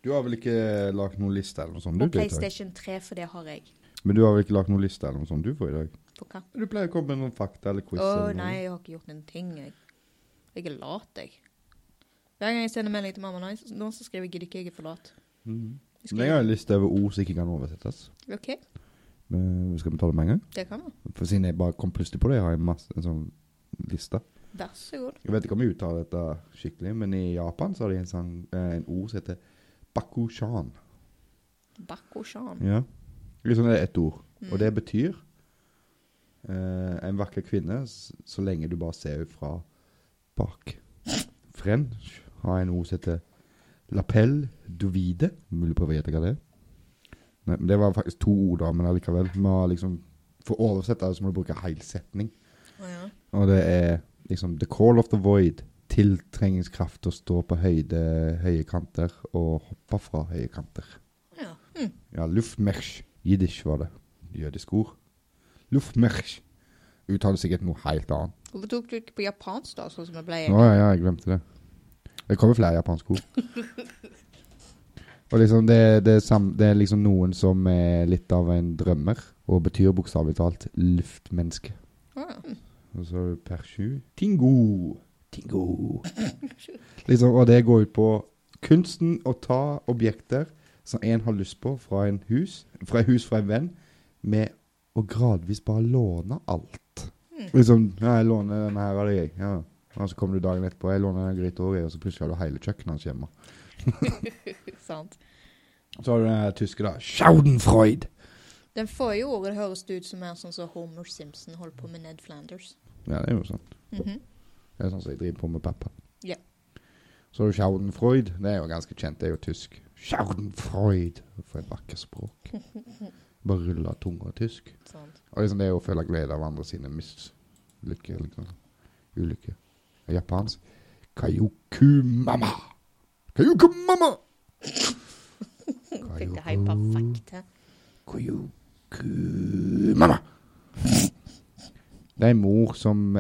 Speaker 1: Du har vel ikke lagd noen liste eller noe sånt, du?
Speaker 2: og
Speaker 1: til i dag?
Speaker 2: PlayStation 3, for det har jeg.
Speaker 1: Men du har vel ikke lagd noen liste eller noe sånt, du, for i dag?
Speaker 2: For hva?
Speaker 1: Du pleier å komme med noen fakta eller quiz
Speaker 2: Å
Speaker 1: eller noe.
Speaker 2: nei, jeg har ikke gjort en ting, jeg. Jeg er lat, jeg. Hver gang jeg sender melding til mamma nå, nå så skriver jeg 'gidder ikke, jeg er for lat'.
Speaker 1: Mhm.
Speaker 2: Jeg
Speaker 1: Men jeg har
Speaker 2: skriver,
Speaker 1: en liste over ord som ikke kan oversettes.
Speaker 2: OK,
Speaker 1: Men eh, skal vi ta det med en gang?
Speaker 2: det kan vi.
Speaker 1: For siden jeg bare kom plutselig på det, jeg har jeg masse, en sånn liste.
Speaker 2: Vær så god.
Speaker 1: Jeg vet ikke om jeg uttaler dette skikkelig, men i Japan så har de en, sånn, eh, en ord som heter bakushan.
Speaker 2: Bakoshan.
Speaker 1: Ja. Liksom det er ett ord.
Speaker 2: Mm.
Speaker 1: Og det betyr eh, en vakker kvinne s- så lenge du bare ser henne fra bak. French har en ord som heter lapel duvide. Mulig prøve å gjette hva det er. Nei, men det var faktisk to ord, da, men allikevel. Vi har liksom, for å oversette det så må du bruke hel setning.
Speaker 2: Mm. Å ja.
Speaker 1: Og det er liksom The Call of the Void. Tiltrengningskraft til å stå på høyde, høye kanter og hoppe fra høye kanter.
Speaker 2: Å ja. Hm.
Speaker 1: Ja, Luftmersch. Jiddisch var det. Jødisk ord. Luftmersch. Uttaler sikkert noe helt annet.
Speaker 2: Hvorfor tok du ikke på japansk, da, sånn som jeg ble?
Speaker 1: Å ja, ja, jeg glemte det. Det kommer flere japanske ord. Og liksom det, det, er sam, det er liksom noen som er litt av en drømmer, og betyr bokstavelig talt luftmenneske.
Speaker 2: Å ja. Hm.
Speaker 1: Og så har du Persju. Tingo! Tingo! liksom, og det går ut på kunsten å ta objekter som en har lyst på fra en hus, fra et hus fra en venn, med å gradvis bare låne alt. Liksom, ja, jeg låner den her av deg, ja. Og så kommer du dagen etterpå, jeg låner den gryta over, og så plutselig har du hele kjøkkenet hans hjemme.
Speaker 2: Sant.
Speaker 1: Så har du den her tyske da, Schaudenfreud!
Speaker 2: Den forrige ordet høres det ut som mer sånn som Homer Simpson holdt på med Ned Flanders.
Speaker 1: Ja, det er jo sånn. sant.
Speaker 2: Mhm.
Speaker 1: Det er sånn som jeg driver på med pappa.
Speaker 2: Ja.
Speaker 1: Så har du Schadenfreude. Det er jo ganske kjent, det er jo tysk. Schadenfreude. For et vakkert språk. Bare ruller tunga tysk.
Speaker 2: Sant.
Speaker 1: Og liksom det er å føle glede av andre sine mislykke, liksom. Ulykke. Og Japansk. Kayokumama. Kayokumama!
Speaker 2: Fikk det helt perfekt til.
Speaker 1: Kayokumama. Det er en mor som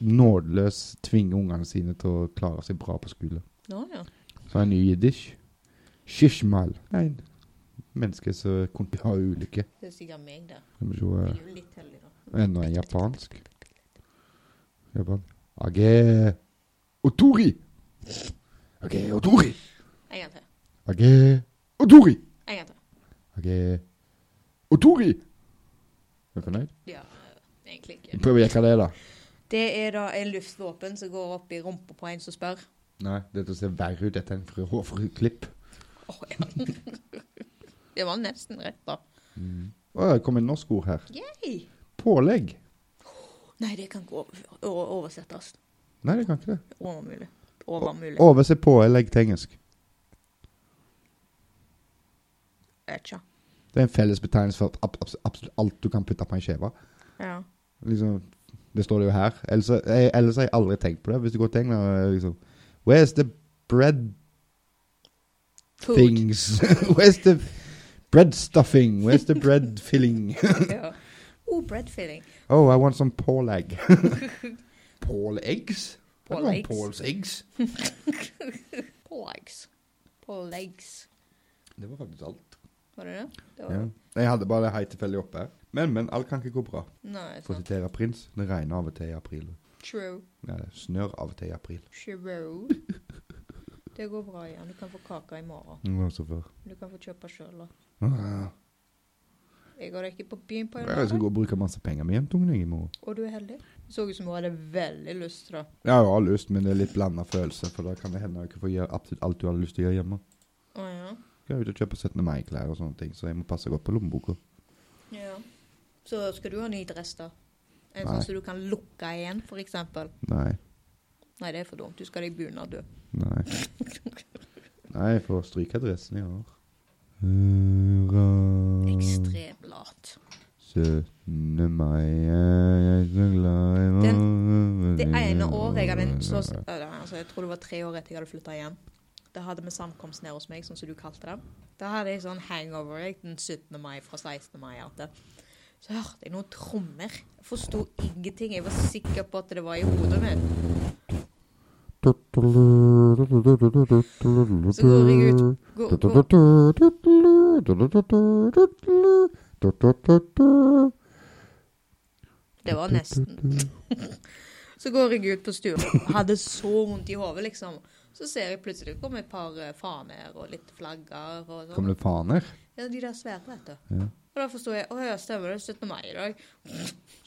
Speaker 1: nådeløst tvinger ungene sine til å klare seg bra på skole.
Speaker 2: Nå, ja.
Speaker 1: Så er det en ny jiddisch. Shishmal. Nei, menneske som kun har ulykke.
Speaker 2: Det er sikkert meg, det.
Speaker 1: Skal vi se
Speaker 2: Jeg
Speaker 1: eh,
Speaker 2: er jo litt heldig, da.
Speaker 1: Enda en japansk. Japan. Age otori. Age otori.
Speaker 2: En gang til.
Speaker 1: Age otori.
Speaker 2: En gang til.
Speaker 1: Age otori. Er du fornøyd?
Speaker 2: Ja, eh, egentlig ikke.
Speaker 1: Prøv å jekke det, da.
Speaker 2: Det er da en luftvåpen som går opp i rumpa på en som spør.
Speaker 1: Nei, dette ser verre ut etter en frøhårklipp.
Speaker 2: Å ja. Det var nesten rett, da.
Speaker 1: Å, det kom en norsk ord her.
Speaker 2: Yay.
Speaker 1: Pålegg.
Speaker 2: Nei, det kan ikke over o- oversettes.
Speaker 1: Nei, det kan ikke det.
Speaker 2: Overmulig. Overmulig.
Speaker 1: Oversett pålegg til engelsk.
Speaker 2: vet ikke.
Speaker 1: Det er en felles betegnelse for ab abs- absolutt alt du kan putte på en kjeve.
Speaker 2: Ja.
Speaker 1: Liksom, det står det jo her. Ellers, jeg, ellers har jeg aldri tenkt på det. Hvis du går til England eh, liksom, Where's the bread
Speaker 2: Food.
Speaker 1: things? Where's the bread stuffing? Where's the bread filling?
Speaker 2: ja. Oh, bread filling.
Speaker 1: Oh, I want some Paul egg. Paul eggs? I don't
Speaker 2: Paul
Speaker 1: want
Speaker 2: eggs.
Speaker 1: Paul's eggs.
Speaker 2: På legs. På legs.
Speaker 1: Det var faktisk alt.
Speaker 2: Var det det? det var...
Speaker 1: Ja. Jeg hadde bare det helt tilfeldig oppe. Men, men, alt kan ikke gå bra.
Speaker 2: Nei,
Speaker 1: For å
Speaker 2: sant.
Speaker 1: sitere Prins, det regner av og til i april.
Speaker 2: True.
Speaker 1: Nei, det snør av og til i april.
Speaker 2: True. Det går bra igjen. Du kan få kake i morgen.
Speaker 1: Det var så før.
Speaker 2: Du kan få kjøpe sjøl.
Speaker 1: Ah,
Speaker 2: Jeg går ikke på byen på en
Speaker 1: Jeg skal
Speaker 2: lørdag,
Speaker 1: gå og bruke masse penger med jentungen jeg, i morgen.
Speaker 2: og du er heldig. Det så ut som hun hadde veldig lyst til det.
Speaker 1: Jeg har jo all lyst, men det er litt blanda følelse, for da kan det hende at du ikke får gjøre absolutt alt du har lyst til å gjøre hjemme.
Speaker 2: Å ja.
Speaker 1: Jeg er ute og kjøper 17. mai-klær og sånne ting, så jeg må passe godt på lommeboka.
Speaker 2: ja. Så skal du ha ny dress, da? En
Speaker 1: Nei.
Speaker 2: sånn som du kan lukke igjen, for eksempel.
Speaker 1: Nei.
Speaker 2: Nei, det er for dumt. Du skal ha deg bunad, du.
Speaker 1: Nei. Nei, jeg får stryke adressen jeg har. Hurra.
Speaker 2: Ekstremt lat.
Speaker 1: 17. mai er jeg så glad i
Speaker 2: Det ene
Speaker 1: Mm.
Speaker 2: året jeg hadde en så, altså, Jeg tror det var tre år etter jeg hadde flytta hjem. Da hadde vi samkomst nede hos meg, sånn som du kalte det. Da hadde jeg sånn hangover jeg, den 17. mai fra 16. mai. at det- Så hørte jeg noen trommer. Jeg forsto ingenting. Jeg var sikker på at det var i hodet mitt.
Speaker 1: Så
Speaker 2: går jeg ut. Gå, gå. Det var nesten. Så går jeg ut på stua. Hadde så vondt i hodet, liksom. Så ser jeg plutselig det kom et par eh, faner og litt flagger og sånn.
Speaker 1: Kom det faner?
Speaker 2: Ja, de der svære, vet du.
Speaker 1: Ja.
Speaker 2: Og da forsto jeg å ja, stemmer det, 17. mai i dag.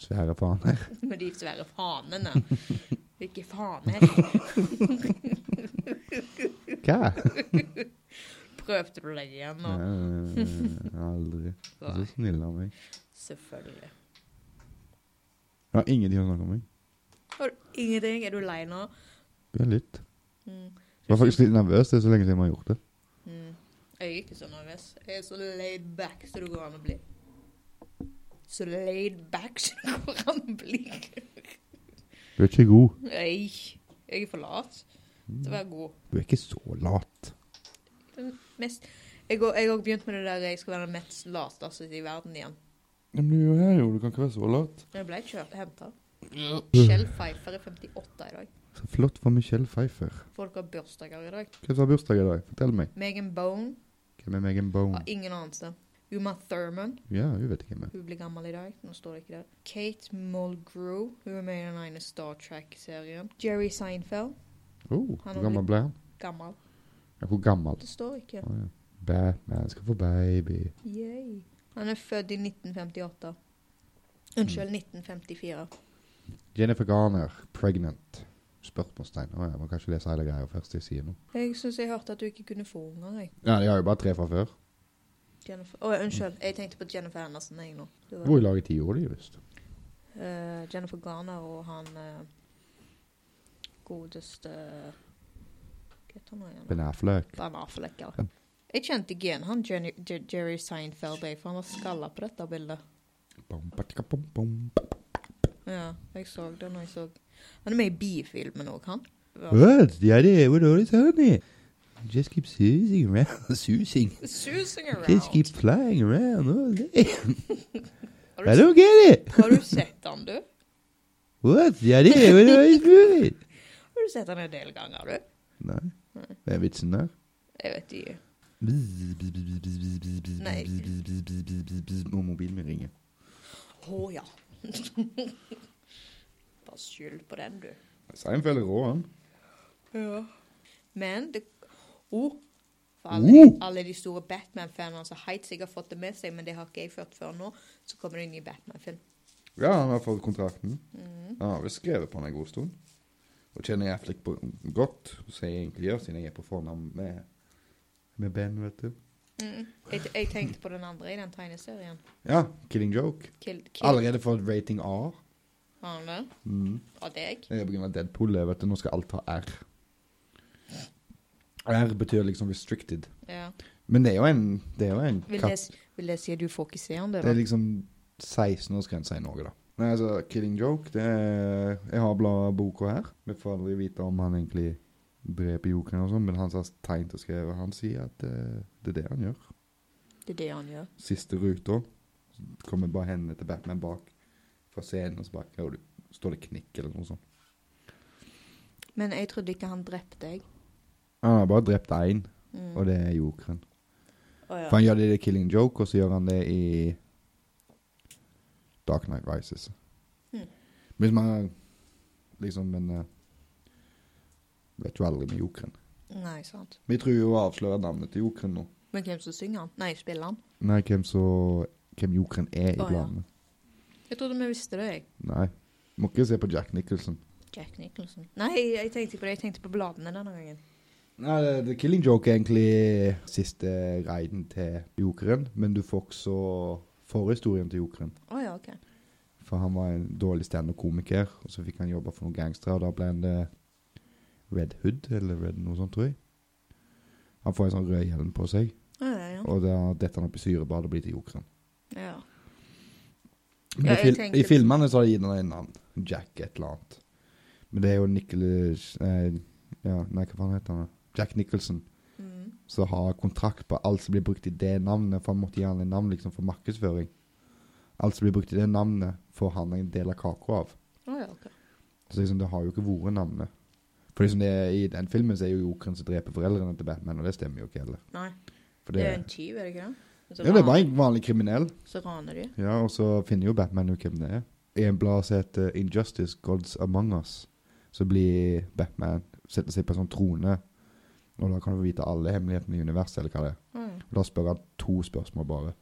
Speaker 1: Svære faner.
Speaker 2: Med de svære fanene. Hvilke faner?
Speaker 1: Hva?
Speaker 2: Prøvde du deg igjen nå?
Speaker 1: Nei, Eh, Aldri. Du er Så
Speaker 2: Nei,
Speaker 1: snill av meg.
Speaker 2: Selvfølgelig.
Speaker 1: Jeg har ingenting å snakke om. jeg.
Speaker 2: Har du ingenting? Er du lei nå?
Speaker 1: Jeg er litt.
Speaker 2: Mm.
Speaker 1: Jeg var faktisk litt nervøs det er så lenge siden vi har gjort det.
Speaker 2: Mm. Jeg er ikke så nervøs. Jeg er så laid back som det går an å bli. Så laid back som det går an å bli.
Speaker 1: Du er ikke god.
Speaker 2: Nei, jeg er for lat til å være god.
Speaker 1: Du er ikke så lat.
Speaker 2: Den mest... Jeg har jeg har begynt med det der jeg skal være den mest lateste i verden igjen.
Speaker 1: Men du er jo her, jo. Du kan ikke være så lat.
Speaker 2: Jeg ble kjørt henta. Kjell Pfeiffer er 58 i dag.
Speaker 1: Så flott for Michelle Pfeiffer.
Speaker 2: Folk har bursdager i dag.
Speaker 1: Hvem som har bursdag i dag? Fortell meg.
Speaker 2: Megan Bone
Speaker 1: Hvem er Megan Bone?
Speaker 2: har ingen anelse. Uma Thurman,
Speaker 1: Ja, hun vet ikke hvem jeg er.
Speaker 2: hun blir gammel i dag. Nå står det ikke der. Kate Mulgrew, hun er med i den ene Star Track-serien. Jerry Seinfeld,
Speaker 1: Oh,
Speaker 2: Han
Speaker 1: hvor
Speaker 2: har
Speaker 1: gammel ble han?
Speaker 2: gammel.
Speaker 1: Ja, hvor gammel?
Speaker 2: Det står ikke.
Speaker 1: Å, Oh ja. Batman skal få baby.
Speaker 2: Yay. Han er født i 1958. Unnskyld, 1954.
Speaker 1: Jennifer Garner, pregnant. Spørsmålstegn. Å ja, man kan ikke lese hele greia først jeg sier noe.
Speaker 2: Jeg syns jeg hørte at du ikke kunne få unger, jeg.
Speaker 1: Ja, de har jo bare tre fra før.
Speaker 2: Jennifer Å, unnskyld. Jeg tenkte på Jennifer Anderson, jeg nå. Du var-
Speaker 1: Hvor i lag i ti år, de visst.
Speaker 2: Eh, Jennifer Garner og han eh, godeste Hva heter han nå igjen?
Speaker 1: Ben Affleck.
Speaker 2: Ben Affleck, ja.
Speaker 1: Ja.
Speaker 2: Jeg kjente ikke igjen han Jenny, J Jerry Seinfeld, jeg, for han var skalla på dette bildet.
Speaker 1: Bom, patika, bom, bom.
Speaker 2: Ja, jeg så det når jeg så Han er med i bifilmen òg, han. Ja.
Speaker 1: What? Yeah, yeah, what are you telling me? Just keep susing around, susing.
Speaker 2: Susing
Speaker 1: Just keep
Speaker 2: around.
Speaker 1: flying around all day.
Speaker 2: Har
Speaker 1: I
Speaker 2: du,
Speaker 1: don't get it.
Speaker 2: har du sett han, du?
Speaker 1: What? Yeah, yeah, what are you doing?
Speaker 2: Har du sett han en del ganger, du?
Speaker 1: Nei. Det er vitsen der.
Speaker 2: Jeg vet ikke.
Speaker 1: Bzz, bzz, bzz, bzz, bzz, bzz, bzz,
Speaker 2: Nei.
Speaker 1: bzz, bzz, bzz, bzz, bzz, bzz, bzz, Må mobilen min ringe.
Speaker 2: Å ja. Bare skyld på den, du.
Speaker 1: Seinfeld er rå, han.
Speaker 2: Ja. Men det oh, for
Speaker 1: Oh!
Speaker 2: alle, de- alle de store Batman-fanene som helt sikkert har fått det med seg, men det har ikke jeg ført før nå, så kommer det en ny Batman-film.
Speaker 1: Ja, han har fått kontrakten. Han har vel skrevet på han en god stund. Og kjenner jeg Affleck på godt, så jeg egentlig gjør, siden jeg er på fornavn med, med Ben, vet du.
Speaker 2: Mm. Jeg, t- jeg tenkte på den andre i den tegneserien.
Speaker 1: Ja, Killing Joke.
Speaker 2: Kill, kill.
Speaker 1: Allerede fått rating A.
Speaker 2: Har han det? Av deg?
Speaker 1: Det er på grunn av Deadpool. jeg Vet du. Nå skal alt ha R. R betyr liksom restricted.
Speaker 2: Ja.
Speaker 1: Men det er jo en, det er jo en
Speaker 2: Vil det,
Speaker 1: katt.
Speaker 2: s- vil det si at du får ikke se han det,
Speaker 1: Det er
Speaker 2: da?
Speaker 1: liksom 16-årsgrensa i Norge, da. Nei, altså, Killing Joke det er, Jeg har bladet boka her. Vi får aldri vite om han egentlig dreper jokeren og sånn, men han har tegnet og skrevet. Han sier at eh, det er det han gjør.
Speaker 2: Det er det han gjør.
Speaker 1: Siste ruta så kommer bare hendene til Batman bak fra scenen, og så bare hører du, står det knikk eller noe sånt.
Speaker 2: Men jeg trodde ikke han drepte deg.
Speaker 1: Han har bare drept én,
Speaker 2: Mm.
Speaker 1: og det er jokeren.
Speaker 2: Å, ja.
Speaker 1: For han gjør det i The Killing Joke, og så gjør han det i Dark Night Rises.
Speaker 2: Mm.
Speaker 1: Hvis man liksom Men eh, vet jo aldri med jokeren.
Speaker 2: Nei, sant.
Speaker 1: Vi tror jo å avsløre navnet til jokeren nå.
Speaker 2: Men hvem som synger han? Nei, spiller han?
Speaker 1: Nei, hvem så Hvem jokeren er i
Speaker 2: Å, ja.
Speaker 1: bladene.
Speaker 2: Jeg trodde vi visste det, jeg.
Speaker 1: Nei. Må ikke se på Jack Nicholson.
Speaker 2: Jack Nicholson. Nei, jeg tenkte ikke på det. Jeg tenkte på bladene denne gangen.
Speaker 1: Nei, The- The Killing Joke er egentlig siste guiden til jokeren, men du får også forhistorien til jokeren.
Speaker 2: Å ja, OK.
Speaker 1: For han var en dårlig standup-komiker, og så fikk han jobbe for noen gangstere, og da ble han det Red Hood, eller Red noe sånt, tror jeg. Han får en sånn rød hjelm på seg,
Speaker 2: Å, ja, ja.
Speaker 1: og da detter han opp i syrebadet og blir til jokeren.
Speaker 2: ja.
Speaker 1: Men
Speaker 2: Ja,
Speaker 1: i,
Speaker 2: jeg
Speaker 1: fil
Speaker 2: tenkte-
Speaker 1: I filmene så har de gitt han en navn. Jack et eller annet. Men det er jo Nicholas eh, ja, Nei, hva faen heter han? da? Jack Nicholson.
Speaker 2: Mm.
Speaker 1: Som har kontrakt på alt som blir brukt i det navnet, for han måtte gi han en navn liksom for markedsføring. Alt som blir brukt i det navnet, får han en del av kaka av.
Speaker 2: Å, ja, ok.
Speaker 1: Så liksom, det har jo ikke vært navnet. For liksom det, I den filmen så er jo jokeren som dreper foreldrene til Batman, og det stemmer jo ikke heller.
Speaker 2: Nei.
Speaker 1: For
Speaker 2: Det
Speaker 1: det,
Speaker 2: er jo en tyv, er det ikke det? Og Så
Speaker 1: ja, det er
Speaker 2: ran-
Speaker 1: bare en vanlig kriminell.
Speaker 2: Så raner de.
Speaker 1: Ja, Og så finner jo Batman ut hvem det er. I en blad som heter 'Injustice Gods Among Us', så blir Batman setter seg på en sånn trone. Og da kan du få vite alle hemmelighetene i universet, eller hva det er.
Speaker 2: Å, ja.
Speaker 1: Og da spør han to spørsmål bare.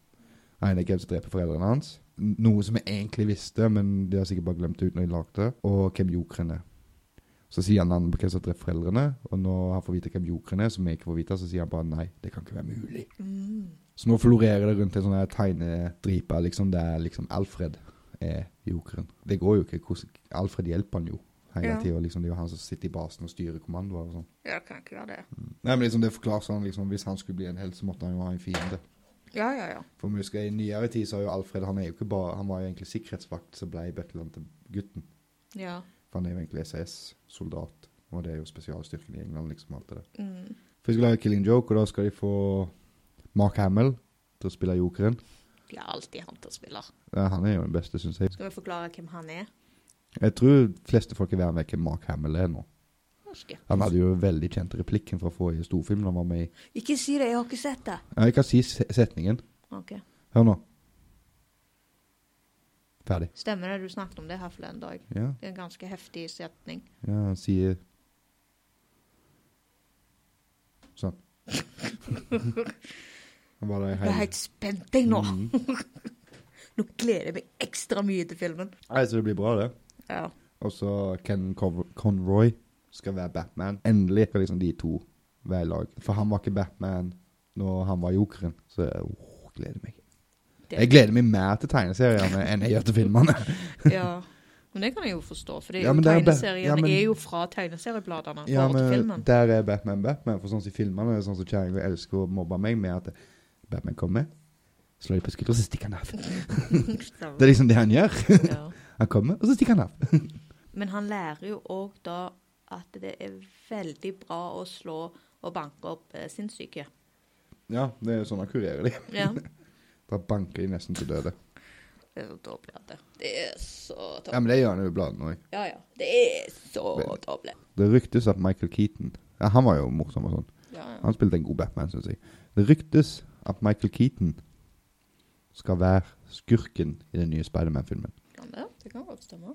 Speaker 1: En er hvem som dreper foreldrene hans. N- Noe som jeg egentlig visste, men de har sikkert bare glemt det ut når de lagde det. Og hvem jokeren er. Så sier han navnet på hvem som dreper foreldrene, og når han får vite hvem jokeren er, som jeg ikke får vite, så sier han bare nei, det kan ikke være mulig.
Speaker 2: Mm.
Speaker 1: Så nå florerer det rundt en sånn her tegnedripe liksom, der liksom Alfred er jokeren. Det går jo ikke. hvordan- Alfred hjelper han jo hele
Speaker 2: Ja.
Speaker 1: tiden, tida. Liksom, det er jo han som sitter i basen og styrer kommandoer og sånn.
Speaker 2: Ja, det kan ikke være det.
Speaker 1: Nei, men liksom, det forklarer sånn liksom, hvis han skulle bli en helt, så måtte han jo ha en fiende.
Speaker 2: Ja, ja, ja.
Speaker 1: For vi husker I nyere tid så har jo Alfred Han, er jo ikke bare, han var jo egentlig sikkerhetsvakt som ble butleren til gutten.
Speaker 2: Ja.
Speaker 1: For han er jo egentlig SAS-soldat, og det er jo spesialstyrken i England. liksom alt det der.
Speaker 2: Mm.
Speaker 1: For de skal lage Killing Joke, og da skal de få Mark Hamill til å spille jokeren.
Speaker 2: Det er alltid han som spiller.
Speaker 1: Ja, han er jo den beste, syns jeg.
Speaker 2: Skal vi forklare hvem han er?
Speaker 1: Jeg tror fleste folk i verden vet hvem Mark Hamill er nå.
Speaker 2: Norske.
Speaker 1: Han hadde jo veldig kjent replikken fra forrige storfilm han var med i.
Speaker 2: Ikke si det, jeg har ikke sett det.
Speaker 1: Ja, Jeg kan si se- setningen.
Speaker 2: Ok.
Speaker 1: Hør nå. Ferdig.
Speaker 2: Stemmer det, du snakket om det her forleden dag.
Speaker 1: Ja.
Speaker 2: Det er en ganske heftig setning.
Speaker 1: Ja, han sier Sånn. Han var der i
Speaker 2: Jeg er
Speaker 1: hele
Speaker 2: helt spent jeg nå.
Speaker 1: Mm.
Speaker 2: Nå gleder jeg meg ekstra mye til filmen.
Speaker 1: Nei, så det blir bra, det.
Speaker 2: Ja.
Speaker 1: Og så Ken Cov- Conroy skal være Batman. Endelig skal liksom de to være i lag. For han var ikke Batman når han var jokeren. Så jeg åh, gleder meg.
Speaker 2: Det-
Speaker 1: Jeg gleder meg mer til tegneseriene enn jeg gjør til filmene.
Speaker 2: ja. Men det kan jeg jo forstå, for det er
Speaker 1: Ja,
Speaker 2: jo
Speaker 1: men det er jo bare-
Speaker 2: tegneserien
Speaker 1: ja, men-
Speaker 2: er jo fra tegneseriebladene
Speaker 1: Ja,
Speaker 2: forhold til
Speaker 1: men
Speaker 2: filmen.
Speaker 1: der er Batman Batman. For sånn som i filmene, sånn som kjerringa elsker å mobbe meg med at Batman kommer, slår de på skuldra, og så stikker han av.
Speaker 2: Stemmer.
Speaker 1: Det er liksom det han gjør.
Speaker 2: ja.
Speaker 1: Han kommer, og så stikker han av.
Speaker 2: Men han lærer jo òg da at det er veldig bra å slå og banke opp eh, sinnssyke.
Speaker 1: Ja, det er sånn han kurerer dem.
Speaker 2: Ja.
Speaker 1: Da banker de nesten til døde.
Speaker 2: Det er så tåpelig at det Det er så
Speaker 1: Ja,
Speaker 2: tåpelig.
Speaker 1: men det gjør han jo i bladene òg.
Speaker 2: Ja, ja. Det er så
Speaker 1: Men-
Speaker 2: tåpelig.
Speaker 1: Det ryktes at Michael Keaton ja, Han var jo morsom og sånn.
Speaker 2: Ja, ja.
Speaker 1: Han spilte en god Batman, syns jeg. Det ryktes at Michael Keaton skal være skurken i den nye Spiderman-filmen.
Speaker 2: Kan det? Det kan godt stemme.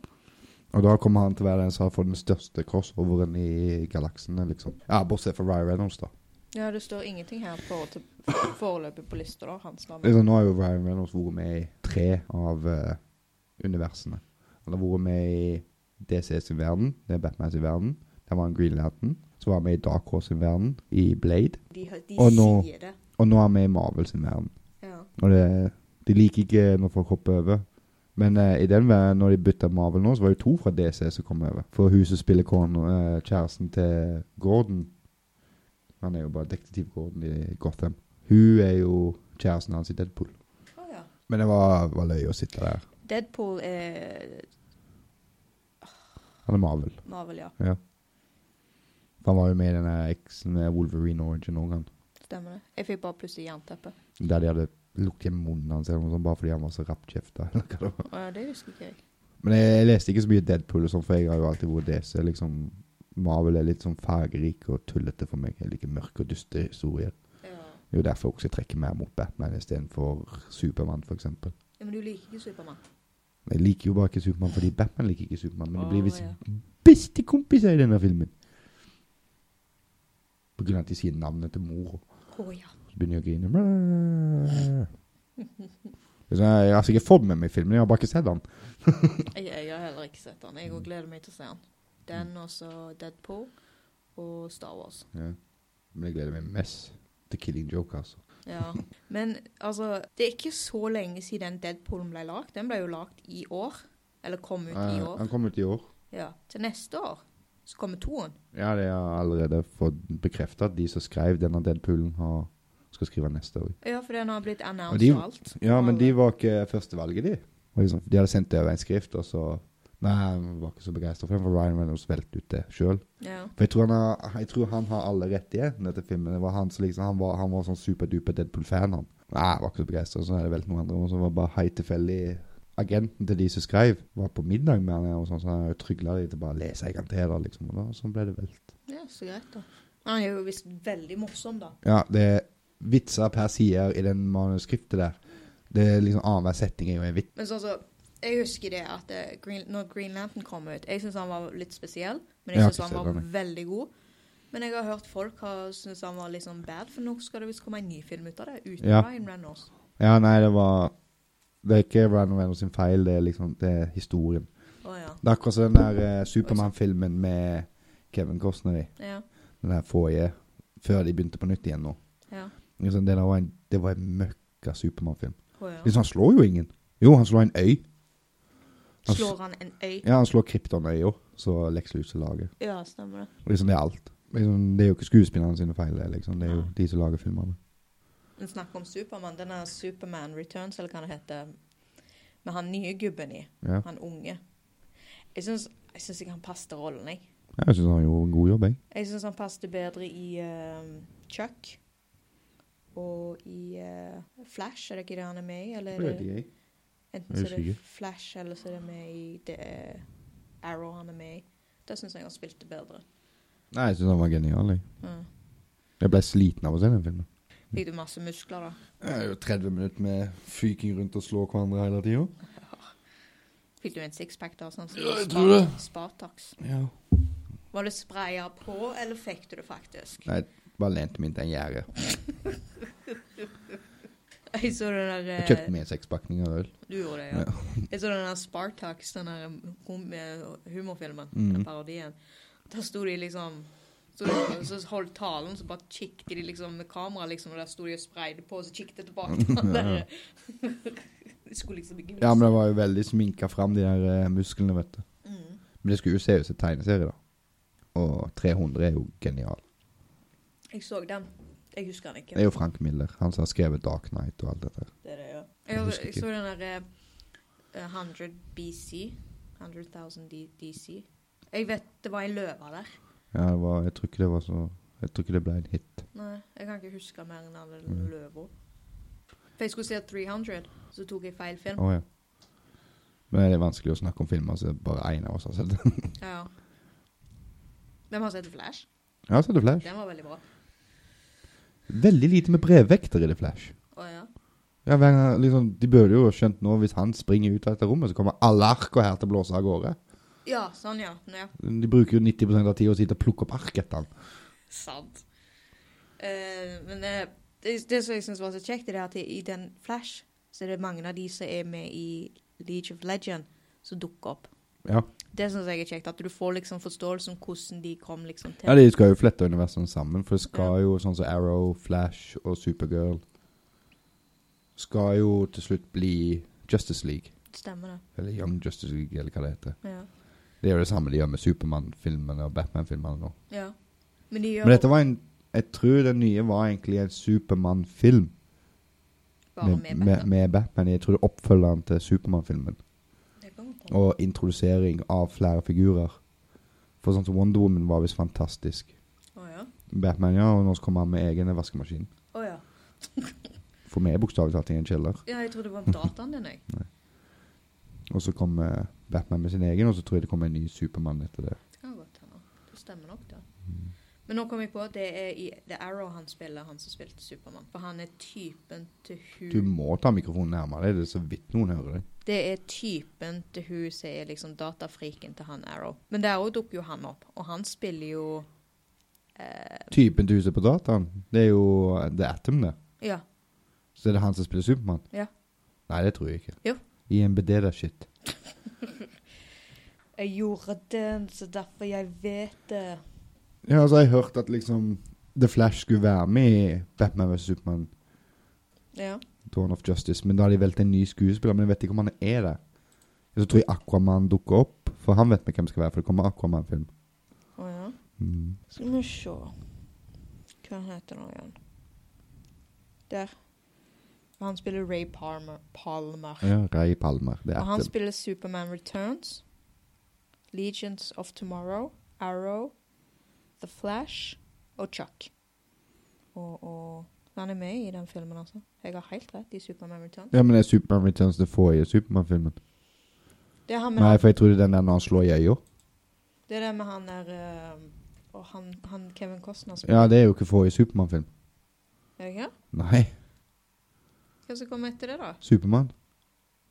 Speaker 1: Og da kommer han til å være den som har fått den største crossoveren i galaksene, liksom. Ja, bortsett fra Ryan Reynolds, da.
Speaker 2: Ja, det står ingenting her på til, foreløpig på lista, da, hans navn.
Speaker 1: Liksom, nå har jo Ryan Reynolds vært med i tre av eh, universene. Han har vært med i DC sin verden, det er Batman sin verden. Der var han Green Lantern. Så var han med i Dark Horse sin verden, i Blade.
Speaker 2: De, har- de
Speaker 1: Og nå-
Speaker 2: sier det.
Speaker 1: Og nå er han med i Marvel sin verden.
Speaker 2: Ja.
Speaker 1: Og det, de liker ikke når folk hopper over. Men eh, i den verden, når de bytta Marvel nå, så var det jo to fra DC som kom over. For huset spiller kone, eh, kjæresten til Gordon. Han er jo bare detektiv Gordon i Gotham. Hun er jo kjæresten hans i Deadpool.
Speaker 2: Å ja.
Speaker 1: Men det var, var løye å sitte der.
Speaker 2: Deadpool er
Speaker 1: Han er Marvel.
Speaker 2: Marvel, ja.
Speaker 1: Ja. For han var jo med i denne eksen med Wolverine Origin òg, han.
Speaker 2: Stemmer det. Jeg fikk bare plutselig jernteppe.
Speaker 1: Der de hadde lukket munnen hans eller noe sånt, bare fordi han var så rappkjefta. eller hva det var.
Speaker 2: Å ja, det husker ikke jeg.
Speaker 1: Men jeg, jeg leste ikke så mye Deadpool, og sånn, for jeg har jo alltid vært det. Så liksom, Marvel er litt sånn fargerik og tullete for meg. Jeg liker mørke og dystre historier.
Speaker 2: Ja.
Speaker 1: Det er jo derfor også jeg trekker mer mot Batman istedenfor Supermann, f.eks.
Speaker 2: ja men du liker ikke Supermann?
Speaker 1: Jeg liker jo bare ikke Supermann fordi Batman liker ikke Supermann, men de blir
Speaker 2: Å,
Speaker 1: visst
Speaker 2: ja.
Speaker 1: beste kompiser i denne filmen. På grunn av at de sier navnet til mor.
Speaker 2: Å ja.
Speaker 1: Så begynner jeg å grine. Brrr. Det er sånn, Jeg har sikkert fått med meg filmen, jeg har bare ikke sett den.
Speaker 2: Jeg, jeg har heller ikke sett den. Jeg òg gleder meg til å se den. Den
Speaker 1: Mm.
Speaker 2: og så Deadpool og Star Wars.
Speaker 1: Ja. Men jeg gleder meg mest til Killing Joke, altså.
Speaker 2: Ja. Men altså, det er ikke så lenge siden Deadpoolen ble lagd. Den ble jo lagd i år. Eller kom ut i
Speaker 1: Eh,
Speaker 2: år.
Speaker 1: han kom ut i år.
Speaker 2: Ja. Til neste år så kommer toen.
Speaker 1: Ja, det har jeg allerede fått bekreftet at de som skrev denne Deadpoolen, har, skal skrive neste år.
Speaker 2: Ja, for den har blitt
Speaker 1: Og
Speaker 2: announced
Speaker 1: de-
Speaker 2: og alt.
Speaker 1: Ja, men de var ikke førstevalget, de. Og Liksom, de hadde sendt det over en skrift, og så Nei, han var ikke så begeistra for den, for Ryan Reynolds velte ut det sjøl.
Speaker 2: Ja.
Speaker 1: For jeg tror, han har, jeg tror han har alle rettighetene til filmen. Det var han, som liksom, han, var, han var sånn superduper Deadpool-fan, han. Nei, jeg var ikke så begeistra, så er det vel noen andre. Og så var bare helt tilfeldig agenten til de som skrev, var på middag med han, og sånn, så han trygla de til bare å lese en gang til, da, liksom. Og da, sånn ble det velt.
Speaker 2: ja, så greit, da. Han er jo visst veldig morsom, da.
Speaker 1: Ja, det er vitser per side i den manuskriptet der. Det er liksom annenhver setning er jo en vits.
Speaker 2: Men sånn så Jeg husker det at eh, Green, når Green Lantern kom ut Jeg syns han var litt spesiell, men
Speaker 1: Jeg
Speaker 2: jeg
Speaker 1: har
Speaker 2: syns
Speaker 1: ikke
Speaker 2: han
Speaker 1: sett
Speaker 2: var
Speaker 1: han, jeg.
Speaker 2: veldig god. Men jeg har hørt folk har syntes han var litt sånn bad, for nå skal det visst komme en ny film ut av det. Uten
Speaker 1: Ja.
Speaker 2: Ryan Reynolds.
Speaker 1: Ja, nei, det var Det er ikke Ryan Reynolds sin feil, det er liksom det er historien.
Speaker 2: Å ja.
Speaker 1: Det er akkurat som den der eh, Supermann-filmen med Kevin Costner i.
Speaker 2: Ja.
Speaker 1: Den der forrige. Før de begynte på nytt igjen nå.
Speaker 2: ja.
Speaker 1: Liksom, det, der var en, det var en møkka Supermann-film.
Speaker 2: Å ja.
Speaker 1: Liksom, han slår jo ingen. Jo, han slår en øy. Han s-
Speaker 2: Slår han en øy?
Speaker 1: Ja, han slår Krypton-øya, så Lex Luthor lager.
Speaker 2: Ja, stemmer det.
Speaker 1: Og Liksom, det er alt. Liksom, det er jo ikke skuespillerne sine feil, det, liksom. Det er jo
Speaker 2: Nei.
Speaker 1: de som lager filmene.
Speaker 2: Men snakk om Supermann. Denne Superman Returns, eller hva det heter, med han nye gubben i,
Speaker 1: Ja.
Speaker 2: han unge Jeg syns jeg, syns ikke han passet til rollen, jeg.
Speaker 1: Jeg syns han gjorde en god jobb, jeg.
Speaker 2: Jeg syns han passet bedre i eh, Chuck. Og i eh, Flash, er det ikke det han er med i? Eller er det, enten
Speaker 1: Jeg
Speaker 2: så er
Speaker 1: husker
Speaker 2: det
Speaker 1: ikke.
Speaker 2: Flash, eller så er det med i det, eh, Arrow han er med i. Da syns jeg han spilte bedre.
Speaker 1: Nei, jeg syns han var genial, jeg.
Speaker 2: Mm.
Speaker 1: Jeg ble sliten av å se den filmen.
Speaker 2: Fikk du masse muskler, da?
Speaker 1: Det er jo 30 minutter med fyking rundt og slå hverandre hele tida.
Speaker 2: Fikk du en sixpack da? Sånn, som
Speaker 1: Ja, jeg
Speaker 2: Spar-
Speaker 1: tror det.
Speaker 2: Spartax.
Speaker 1: Ja.
Speaker 2: Var det spraya på, eller fikk du det faktisk?
Speaker 1: Nei, bare lente meg inntil en gjerde.
Speaker 2: Eh. Jeg så den der
Speaker 1: Jeg
Speaker 2: eh,
Speaker 1: kjøpte meg en sekspakning av øl.
Speaker 2: Du gjorde det, ja. Jeg så den der Spartax, den der hum eh, humorfilmen,
Speaker 1: Mm.
Speaker 2: den parodien. Da sto de liksom sto de, Så holdt talen, så bare kikket de liksom med kamera, liksom, og der sto de og spreide på, og så kikket de tilbake. på den der. De skulle liksom ikke
Speaker 1: Ja, men det var jo veldig sminka fram, de der eh, musklene, vet du.
Speaker 2: Mm.
Speaker 1: Men det skulle jo se ut som en tegneserie, da. Og 300 er jo genial.
Speaker 2: Jeg så den. Jeg husker den ikke.
Speaker 1: Det er jo Frank Miller, han som har skrevet Dark Knight og alt dette.
Speaker 2: Det er det, ja.
Speaker 1: Jeg
Speaker 2: Jeg,
Speaker 1: husker
Speaker 2: jeg
Speaker 1: ikke.
Speaker 2: så den der eh, 100 BC. 100.000 D- DC. Jeg vet det var en løve der.
Speaker 1: Ja, det var, jeg tror ikke det var så Jeg tror ikke det ble en hit.
Speaker 2: Nei, jeg kan ikke huske mer enn alle
Speaker 1: Mm.
Speaker 2: løver. For jeg skulle se 300, så tok jeg feil
Speaker 1: Å
Speaker 2: film.
Speaker 1: ja. Men det er vanskelig å snakke om filmer som bare én av oss har sett. Jeg
Speaker 2: Ja. Hvem har sett Flash?
Speaker 1: har sett The Flash.
Speaker 2: Den var veldig bra.
Speaker 1: Veldig lite med brevvekter i The Flash.
Speaker 2: Å ja.
Speaker 1: Ja, hver gang, liksom, De burde jo ha skjønt nå hvis han springer ut av dette rommet, så kommer alle arka her til å blåse av gårde.
Speaker 2: Ja, sånn ja. Nå, ja.
Speaker 1: De bruker jo 90 av tida til å plukke opp ark etter han.
Speaker 2: Sant. Eh, men eh, det, det som jeg syns var så kjekt, det er at i, i den Flash så er det mange av de som er med i League of Legend, som dukker opp.
Speaker 1: Ja.
Speaker 2: Det syns jeg er kjekt. At du får liksom forståelse om hvordan de kom liksom til.
Speaker 1: ja, De skal jo flette universene sammen, for det skal jo sånn som Arrow, Flash og Supergirl Skal jo til slutt bli Justice League.
Speaker 2: Stemmer det.
Speaker 1: Eller Young Justice League, eller hva det heter.
Speaker 2: Ja.
Speaker 1: Det er jo det samme de gjør med Supermann-filmene og Batman-filmene nå.
Speaker 2: ja. Men de gjør
Speaker 1: Men dette var en Jeg tror den nye var egentlig en Supermann-film
Speaker 2: Bare med,
Speaker 1: med, med, med Batman. Jeg tror det er oppfølgeren til Supermann-filmen.
Speaker 2: Det kan godt hende.
Speaker 1: Og introdusering av flere figurer. For sånn som Wonder Woman var visst fantastisk.
Speaker 2: Å ja.
Speaker 1: Batman, ja, og nå kommer han med egen vaskemaskin.
Speaker 2: Å ja.
Speaker 1: For vi er bokstavelig talt i en kjeller.
Speaker 2: ja. Jeg trodde det var om dataen din, jeg.
Speaker 1: Og så kommer Batman med sin egen, og så tror jeg det kommer en ny Supermann etter det.
Speaker 2: Det kan godt hende. Det stemmer nok, det. Men nå kom jeg på at det er i The Arrow han spiller, han som spilte Supermann. For han er typen til
Speaker 1: Du
Speaker 2: hun
Speaker 1: må ta mikrofonen nærmere deg, det er så vidt noen hører deg.
Speaker 2: Det er typen til hun som er liksom datafriken til han Arrow. Men der òg dukker jo han opp, og han spiller jo eh,
Speaker 1: Typen til huset på dataen, det er jo eh, The Atom, det.
Speaker 2: Ja.
Speaker 1: Så er det han som spiller Supermann?
Speaker 2: Ja.
Speaker 1: Nei, det tror jeg ikke.
Speaker 2: Jo.
Speaker 1: I en bededa shit.
Speaker 2: Jeg gjorde den, så derfor jeg vet det.
Speaker 1: Ja, altså, jeg hørte at liksom The Flash skulle være med i Batman vs. Superman
Speaker 2: Ja.
Speaker 1: Dawn of Justice, men da har de valgt en ny skuespiller, men jeg vet ikke om han er det. Så tror jeg Aquaman dukker opp, for han vet vi hvem skal være, for det kommer Aquaman-film.
Speaker 2: Å ja.
Speaker 1: Mm.
Speaker 2: Skal vi se Hva han heter han igjen? Der. Han spiller Ray Palmer. Palmer.
Speaker 1: Ja, Ray Palmer, det er
Speaker 2: Og han
Speaker 1: etter.
Speaker 2: spiller Superman Returns, Legions of Tomorrow, Arrow, The Flash og Chuck. Og, og han er med i den filmen, altså. Jeg har helt rett i Superman Returns.
Speaker 1: Ja, men det er Superman Returns det forrige Superman-filmen.
Speaker 2: Det er han med
Speaker 1: Nei,
Speaker 2: han,
Speaker 1: for jeg tror det er den der når han slår i øya.
Speaker 2: det er det med han der ehm, Og han, han Kevin Costner
Speaker 1: Ja,
Speaker 2: spiller.
Speaker 1: det er jo ikke forrige Superman-film.
Speaker 2: Er det ikke det?
Speaker 1: Nei,
Speaker 2: Hva som kommer etter det, da?
Speaker 1: Superman.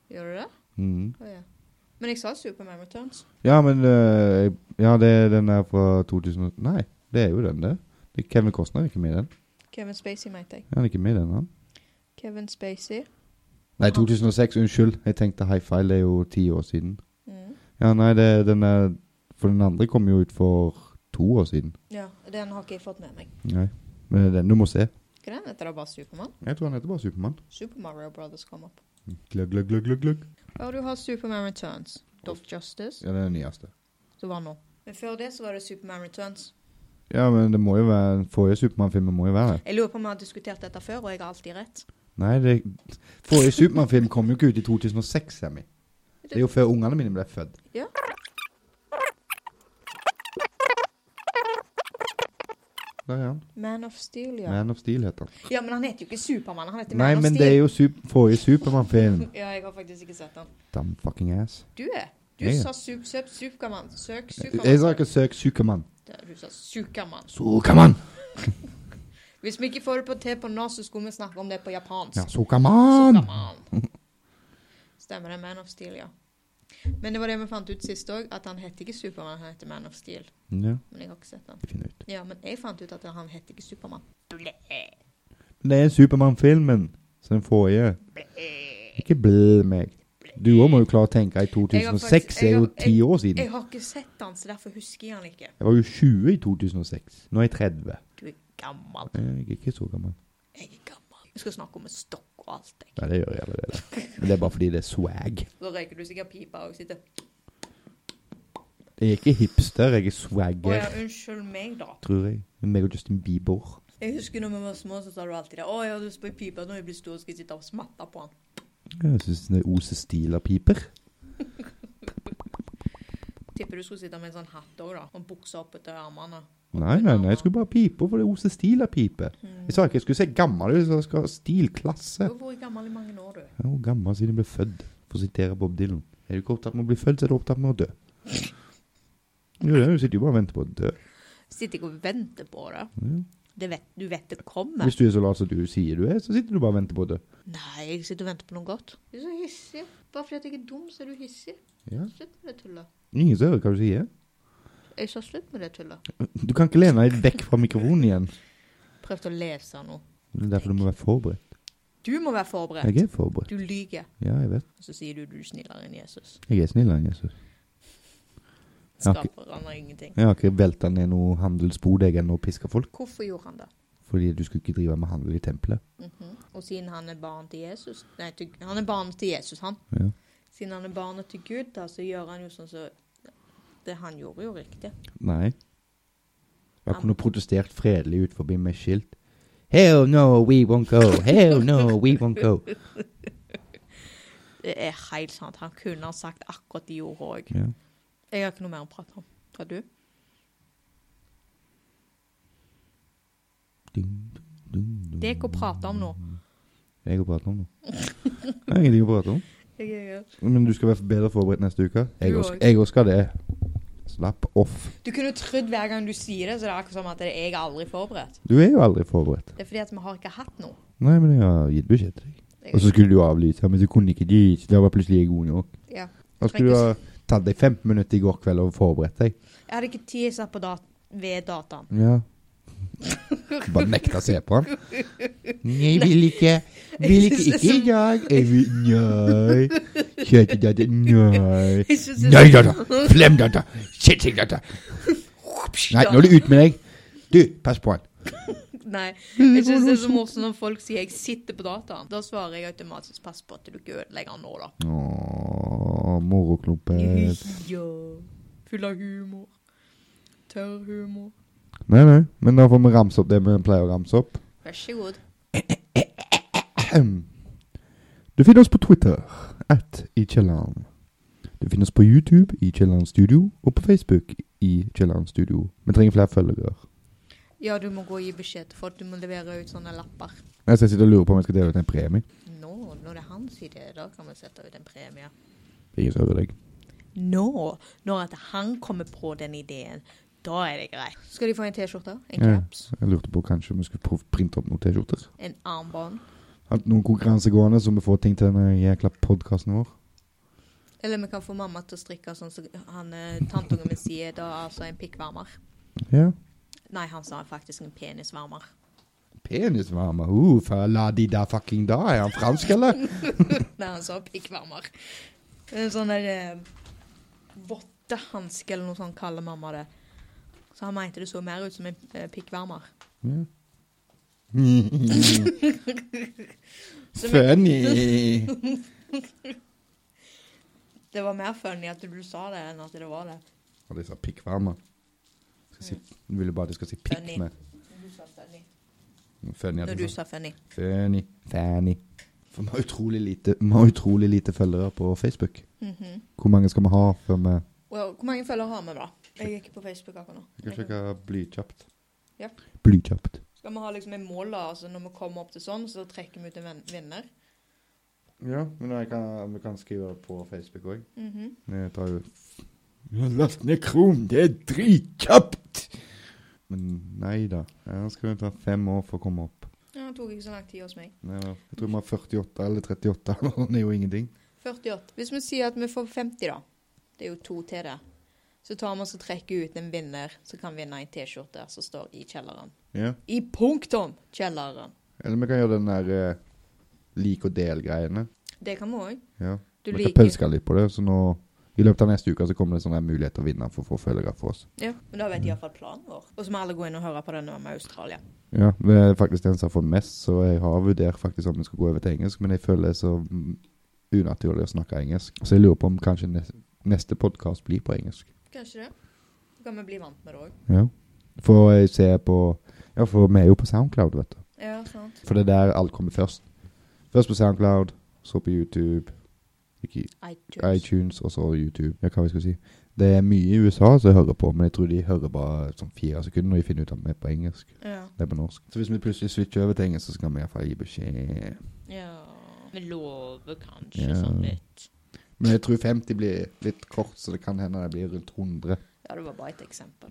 Speaker 2: Gjør du det?
Speaker 1: Mm.
Speaker 2: Å ja. Oh, Men jeg sa Superman Returns.
Speaker 1: Ja, men øh, Ja, det er den der fra 2000 Nei, det er jo den, det. det er Kevin Costner er ikke med i den.
Speaker 2: Kevin Spacey, mente jeg.
Speaker 1: Han er ikke med i den, han.
Speaker 2: Kevin Spacey.
Speaker 1: Nei,
Speaker 2: Han-
Speaker 1: 2006. Unnskyld. Jeg tenkte high five. Det er jo ti år siden.
Speaker 2: Mm.
Speaker 1: Ja, nei, det er den der For den andre kom jo ut for to år siden.
Speaker 2: Ja, den har ikke jeg fått med meg.
Speaker 1: Nei. Men det er den du må se.
Speaker 2: Hva er den heter da bare Supermann?
Speaker 1: Jeg tror han heter bare Supermann.
Speaker 2: Super Mario Brothers kom opp.
Speaker 1: Gløgg, gløgg, gløgg, gløgg, gløgg.
Speaker 2: Og du har Superman Returns, Doff Justice,
Speaker 1: Ja, det er den nyeste.
Speaker 2: som var nå. Men før det så var det Superman Returns.
Speaker 1: Ja, men det må jo være den forrige Supermann-filmen må jo være det.
Speaker 2: Jeg lurer på om vi har diskutert dette før, og jeg har alltid rett.
Speaker 1: Nei, det Forrige Supermann-film kom jo ikke ut i 2006, Sammy. Det er jo før ungene mine ble født.
Speaker 2: Ja.
Speaker 1: Der er han.
Speaker 2: Man of Steel, ja.
Speaker 1: Man of Steel heter han.
Speaker 2: Ja, men han heter jo ikke Supermann, han heter
Speaker 1: Nei,
Speaker 2: Man of
Speaker 1: men
Speaker 2: Steel.
Speaker 1: det er jo sup forrige Supermann-film.
Speaker 2: Ja, jeg har faktisk ikke sett han.
Speaker 1: Damn fucking ass.
Speaker 2: Du er. Du
Speaker 1: Jeg er.
Speaker 2: sa sup, sup, Superman. Søk
Speaker 1: Jeg sa
Speaker 2: Superman.
Speaker 1: ikke søk Supermann.
Speaker 2: Du sa Superman.
Speaker 1: Supermann!
Speaker 2: Hvis vi ikke får det på til på norsk, så skulle vi snakke om det på japansk.
Speaker 1: Ja, Supermann!
Speaker 2: Superman. Stemmer det. Man of Steel, ja. Men det var det vi fant ut sist òg, at han heter ikke Supermann, han heter Man of Steel.
Speaker 1: Ja,
Speaker 2: Men jeg har ikke sett han.
Speaker 1: det finner jeg ut.
Speaker 2: Ja, men jeg fant ut at han heter ikke Supermann.
Speaker 1: Men Det er Supermann-filmen. Så den forrige. Ikke bli meg. Du òg må jo klare å tenke i
Speaker 2: Jeg har
Speaker 1: 2006.
Speaker 2: faktisk-
Speaker 1: Det er jo
Speaker 2: jeg har-
Speaker 1: ti år
Speaker 2: Jeg
Speaker 1: siden.
Speaker 2: har ikke sett han, så derfor husker jeg han ikke.
Speaker 1: Jeg var jo 20 i 2006. Nå er jeg 30.
Speaker 2: Du er gammel.
Speaker 1: Jeg er ikke så gammel.
Speaker 2: Jeg er gammel. Vi skal snakke om en stokk og alt, jeg.
Speaker 1: Nei, det gjør jeg allerede. Men det er bare fordi det er swag.
Speaker 2: Da røyker du sikkert pipa og sitter
Speaker 1: Jeg er ikke hipster, jeg er
Speaker 2: Å ja,
Speaker 1: swagger,
Speaker 2: unnskyld meg, da.
Speaker 1: tror jeg. Meg og Justin Bieber.
Speaker 2: Jeg husker når vi var små, så sa du alltid det. 'Å, jeg har lyst på en pipe. Når jeg blir stor, skal jeg sitte og smatte på han.'
Speaker 1: Jeg syns det oser stil av piper.
Speaker 2: Tipper du skulle sitte med en sånn hatt òg, da. Og buksa opp etter armene.
Speaker 1: Nei, nei, nei, jeg skulle bare pipe, for det oser stil av pipe. Jeg sa Mm. ikke jeg skulle se gammel ut, jeg sa jeg skal ha stilklasse.
Speaker 2: Du har vært gammel i mange år, du.
Speaker 1: Jeg er jo gammel siden jeg ble født, for å sitere Bob Dylan. Er du ikke opptatt med å bli født, så er du opptatt med å dø. Jo, det er jo, du sitter jo bare og venter på å dø.
Speaker 2: Sitter ikke og venter på det.
Speaker 1: Ja.
Speaker 2: det vet, du vet det kommer.
Speaker 1: Hvis du er så lat som du sier du er, så sitter du bare og venter på å dø.
Speaker 2: Nei, jeg sitter og venter på noe godt. Du er så hissig. Bare fordi at jeg er dum, så er du hissig.
Speaker 1: Ja.
Speaker 2: Slutt med det tullet.
Speaker 1: Ingen som hører hva du sier.
Speaker 2: Jeg sa slutt med det tullet.
Speaker 1: Du kan ikke lene deg vekk fra mikrofonen igjen.
Speaker 2: Prøvde å lese nå.
Speaker 1: Det er derfor du må være forberedt.
Speaker 2: Du må være forberedt.
Speaker 1: Jeg er forberedt.
Speaker 2: Du lyver.
Speaker 1: Ja, jeg vet.
Speaker 2: Og så sier du du er snillere enn Jesus.
Speaker 1: Jeg er snillere enn Jesus. Ja, ok.
Speaker 2: Skaper han ingenting.
Speaker 1: Jeg har ikke velta ned noe handelsbod jeg ennå og piska folk.
Speaker 2: Hvorfor gjorde han det?
Speaker 1: Fordi du skulle ikke drive med handel i tempelet.
Speaker 2: Mhm. Og siden han er barn til Jesus Nei, til, han er barnet til Jesus, han.
Speaker 1: Ja.
Speaker 2: Siden han er barnet til Gud, da, så gjør han jo sånn som så, Det han gjorde, jo riktig.
Speaker 1: Nei. Jeg kunne protestert fredelig ut forbi med skilt. Hell no, we won't go. Hell no, we won't go.
Speaker 2: Det er helt sant. Han kunne ha sagt akkurat de ordene òg.
Speaker 1: Ja.
Speaker 2: Jeg har ikke noe mer å prate om. Har du?
Speaker 1: Dum, dum, dum.
Speaker 2: Det er ikke å prate om nå.
Speaker 1: Jeg har pratet om noe. Det er ingenting å prate om. Men du skal være bedre forberedt neste uke. Jeg
Speaker 2: Du
Speaker 1: også-
Speaker 2: også.
Speaker 1: Jeg òg skal det. Slapp off.
Speaker 2: Du kunne jo trodd hver gang du sier det, så det er akkurat som at det er jeg er aldri forberedt.
Speaker 1: Du er jo aldri forberedt.
Speaker 2: Det er fordi at vi har ikke hatt noe.
Speaker 1: Nei, men jeg har gitt beskjed til deg. Og så skulle du avlyse, men så kunne ikke de. så Da var plutselig jeg god nok.
Speaker 2: Ja.
Speaker 1: Da skulle du ha tatt deg 15 minutter i går kveld og forberedt deg.
Speaker 2: Jeg hadde ikke tid til å se på dat ved dataen.
Speaker 1: Ja. Bare nekta å se på han. Nei, vil ikke. Vil ikke. Ikke i dag. Jeg vil Nei. Kjøte data. Nei.
Speaker 2: Jeg synes det-
Speaker 1: Nei, data. Flem data. Kjøte data. Nei, nå er det ut med deg. Du, pass på han.
Speaker 2: Nei. Jeg synes det er så morsomt når folk sier 'jeg sitter på dataen'. Da svarer jeg automatisk 'pass på at du ikke ødelegger den nå', da.
Speaker 1: Åh, moroklumpet.
Speaker 2: Ja. Full av humor. Tørr humor.
Speaker 1: Nei, nei. Men da får vi ramse opp det vi pleier å ramse opp.
Speaker 2: Vær så god.
Speaker 1: Ahem. Du finner oss på Twitter, at i kjelleren. Du finner oss på YouTube i Kjelleren Studio, og på Facebook i Kjelleren Studio. Vi trenger flere følgere.
Speaker 2: Ja, du må gå og gi beskjed til folk. Du må levere ut sånne lapper.
Speaker 1: Altså, jeg sitter og lurer på om jeg skal dele ut en premie.
Speaker 2: Nå, når det er hans idé, da kan vi sette ut en premie.
Speaker 1: Det er Ingen som hører deg.
Speaker 2: Nå, når at han kommer på den ideen, da er det greit. Skal de få en T-skjorte? En
Speaker 1: Ja.
Speaker 2: caps?
Speaker 1: Jeg lurte på kanskje om vi skulle prøve å printe opp noen T-skjorter.
Speaker 2: En armbånd?
Speaker 1: Hatt noen konkurransegående så vi får ting til denne jækla podkasten vår.
Speaker 2: Eller vi kan få mamma til å strikke sånn som han eh, tanteungen min sier, da altså en pikkvarmer.
Speaker 1: Ja.
Speaker 2: Nei, han sa faktisk en penisvarmer.
Speaker 1: Penisvarme. Uh, for la de da fucking da. Er han fransk, eller?
Speaker 2: Nei, han sa pikkvarmer. En sånn der eh, vottehanske eller noe sånt kaller mamma det. Så han mente det så mer ut som en eh, pikkvarmer.
Speaker 1: Ja.
Speaker 2: Så vi-
Speaker 1: Funny.
Speaker 2: det var mer funny at du sa det enn at det var det.
Speaker 1: Og de sa pikkvarme. Skal Si, jeg ville bare at jeg skal si pikk
Speaker 2: Funny.
Speaker 1: med.
Speaker 2: Du sa funny.
Speaker 1: Funny. at
Speaker 2: Når
Speaker 1: de
Speaker 2: du
Speaker 1: sa
Speaker 2: sa funny.
Speaker 1: Funny. Fanny. For vi har utrolig lite, vi har utrolig lite følgere på Facebook.
Speaker 2: Mhm.
Speaker 1: Hvor mange skal vi ha før vi
Speaker 2: Well, hvor mange følgere har vi, da? Jeg er ikke på Facebook akkurat nå.
Speaker 1: Jeg kan sjekke blykjapt.
Speaker 2: Ja.
Speaker 1: Blykjapt.
Speaker 2: Skal vi ha liksom en mål, da? Altså når vi kommer opp til sånn, så trekker vi ut en vin- vinner?
Speaker 1: Ja, men jeg kan, vi kan skrive på Facebook òg.
Speaker 2: Mhm.
Speaker 1: Jeg tar jo Last ned Kron, det er dritkjapt! Men nei da. Her skal det ta fem år for å komme opp.
Speaker 2: Ja, det tok ikke så lang tid hos meg.
Speaker 1: Nei, da. Jeg tror vi har 48 eller 38. Det er jo ingenting.
Speaker 2: 48. Hvis vi sier at vi får 50, da. Det er jo to til det. Så tar vi oss og trekker ut en vinner som kan vinne en T-skjorte som står i kjelleren.
Speaker 1: Ja.
Speaker 2: I punktum kjelleren.
Speaker 1: Eller vi kan gjøre den der eh, lik og del-greiene.
Speaker 2: Det kan vi òg.
Speaker 1: Ja.
Speaker 2: Du
Speaker 1: vi kan
Speaker 2: liker
Speaker 1: pønske litt på det, så nå i løpet av neste uke så kommer det sånne mulighet til å vinne for å få følgere for oss.
Speaker 2: Ja, men da vet de iallfall planen vår. Og så må alle gå inn og høre på den med Australia.
Speaker 1: Ja, det er faktisk den som har fått mest, så jeg har vurdert faktisk om vi skal gå over til engelsk, men jeg føler det er så mm, unaturlig å snakke engelsk. Så jeg lurer på om kanskje nes- neste podkast blir på engelsk.
Speaker 2: Kanskje det. Så kan vi bli vant med det òg.
Speaker 1: Ja. For jeg ser på Ja, for vi er jo på Soundcloud, vet du.
Speaker 2: Ja, sant.
Speaker 1: For det er der alt kommer først. Først på Soundcloud, så på YouTube. Ikke
Speaker 2: iTunes.
Speaker 1: iTunes og så YouTube. Ja, hva vi skal si. Det er mye i USA som jeg hører på, men jeg tror de hører bare sånn fire sekunder når de finner ut at vi er på engelsk.
Speaker 2: Ja.
Speaker 1: Det er på norsk. Så hvis vi plutselig switcher over til engelsk, så skal vi iallfall gi beskjed.
Speaker 2: ja. Vi lover kanskje
Speaker 1: Ja.
Speaker 2: sånn litt.
Speaker 1: Men jeg tror 50 blir litt kort, så det kan hende det blir rundt 100.
Speaker 2: Ja, det var bare et eksempel.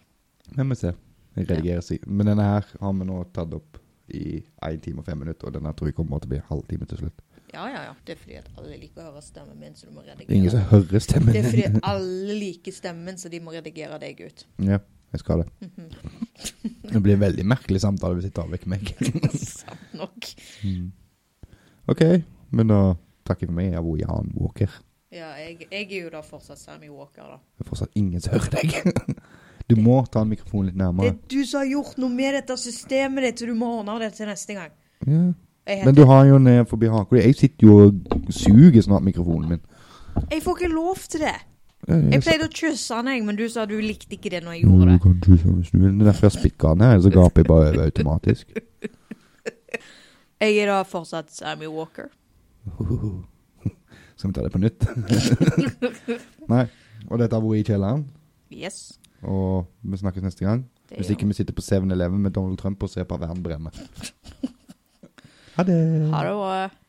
Speaker 1: Men vi ser. Jeg redigerer seg. Men denne her har vi nå tatt opp i 1 time og 5 minutter, og denne tror jeg kommer til å bli en halvtime til slutt.
Speaker 2: Ja, ja, ja. Det er fordi at alle liker å høre stemmen min, så du må
Speaker 1: Det er ingen
Speaker 2: redigere.
Speaker 1: som hører stemmen
Speaker 2: Det er fordi
Speaker 1: din.
Speaker 2: alle liker stemmen min, så de må redigere deg ut.
Speaker 1: Ja, jeg skal det. Det blir en veldig merkelig samtale hvis jeg tar vekk meg.
Speaker 2: Sant nok.
Speaker 1: Mm. Ok, men da takker jeg for meg. Jeg var Jan Walker.
Speaker 2: Ja, jeg, jeg er jo da fortsatt Sammy Walker, da.
Speaker 1: Det er fortsatt ingen som hører deg. Du må ta mikrofonen litt
Speaker 2: Det
Speaker 1: nærmere.
Speaker 2: er du som har gjort noe med dette systemet ditt, så du må ordne det til neste gang.
Speaker 1: Ja.
Speaker 2: Jeg,
Speaker 1: Men
Speaker 2: heter,
Speaker 1: du har jo ned forbi haka. Jeg sitter jo og suger snart mikrofonen min.
Speaker 2: jeg får ikke lov til det. Jeg pleide å kysse han, jeg, men du sa du likte ikke det når jeg
Speaker 1: Jo,
Speaker 2: gjorde
Speaker 1: du
Speaker 2: det.
Speaker 1: kan kysse hvis du vil. Det er derfor jeg spikker den her, så gaper jeg bare over automatisk.
Speaker 2: Jeg er da fortsatt Sammy Walker.
Speaker 1: Skal vi ta det på nytt? Nei. Og dette har vært i kjelleren,
Speaker 2: Yes.
Speaker 1: og vi snakkes neste gang.
Speaker 2: Det
Speaker 1: Hvis
Speaker 2: gjør
Speaker 1: ikke vi sitter på 7-Eleven med Donald Trump og ser på verden brenne. Ha det.
Speaker 2: vi. Ha det bra.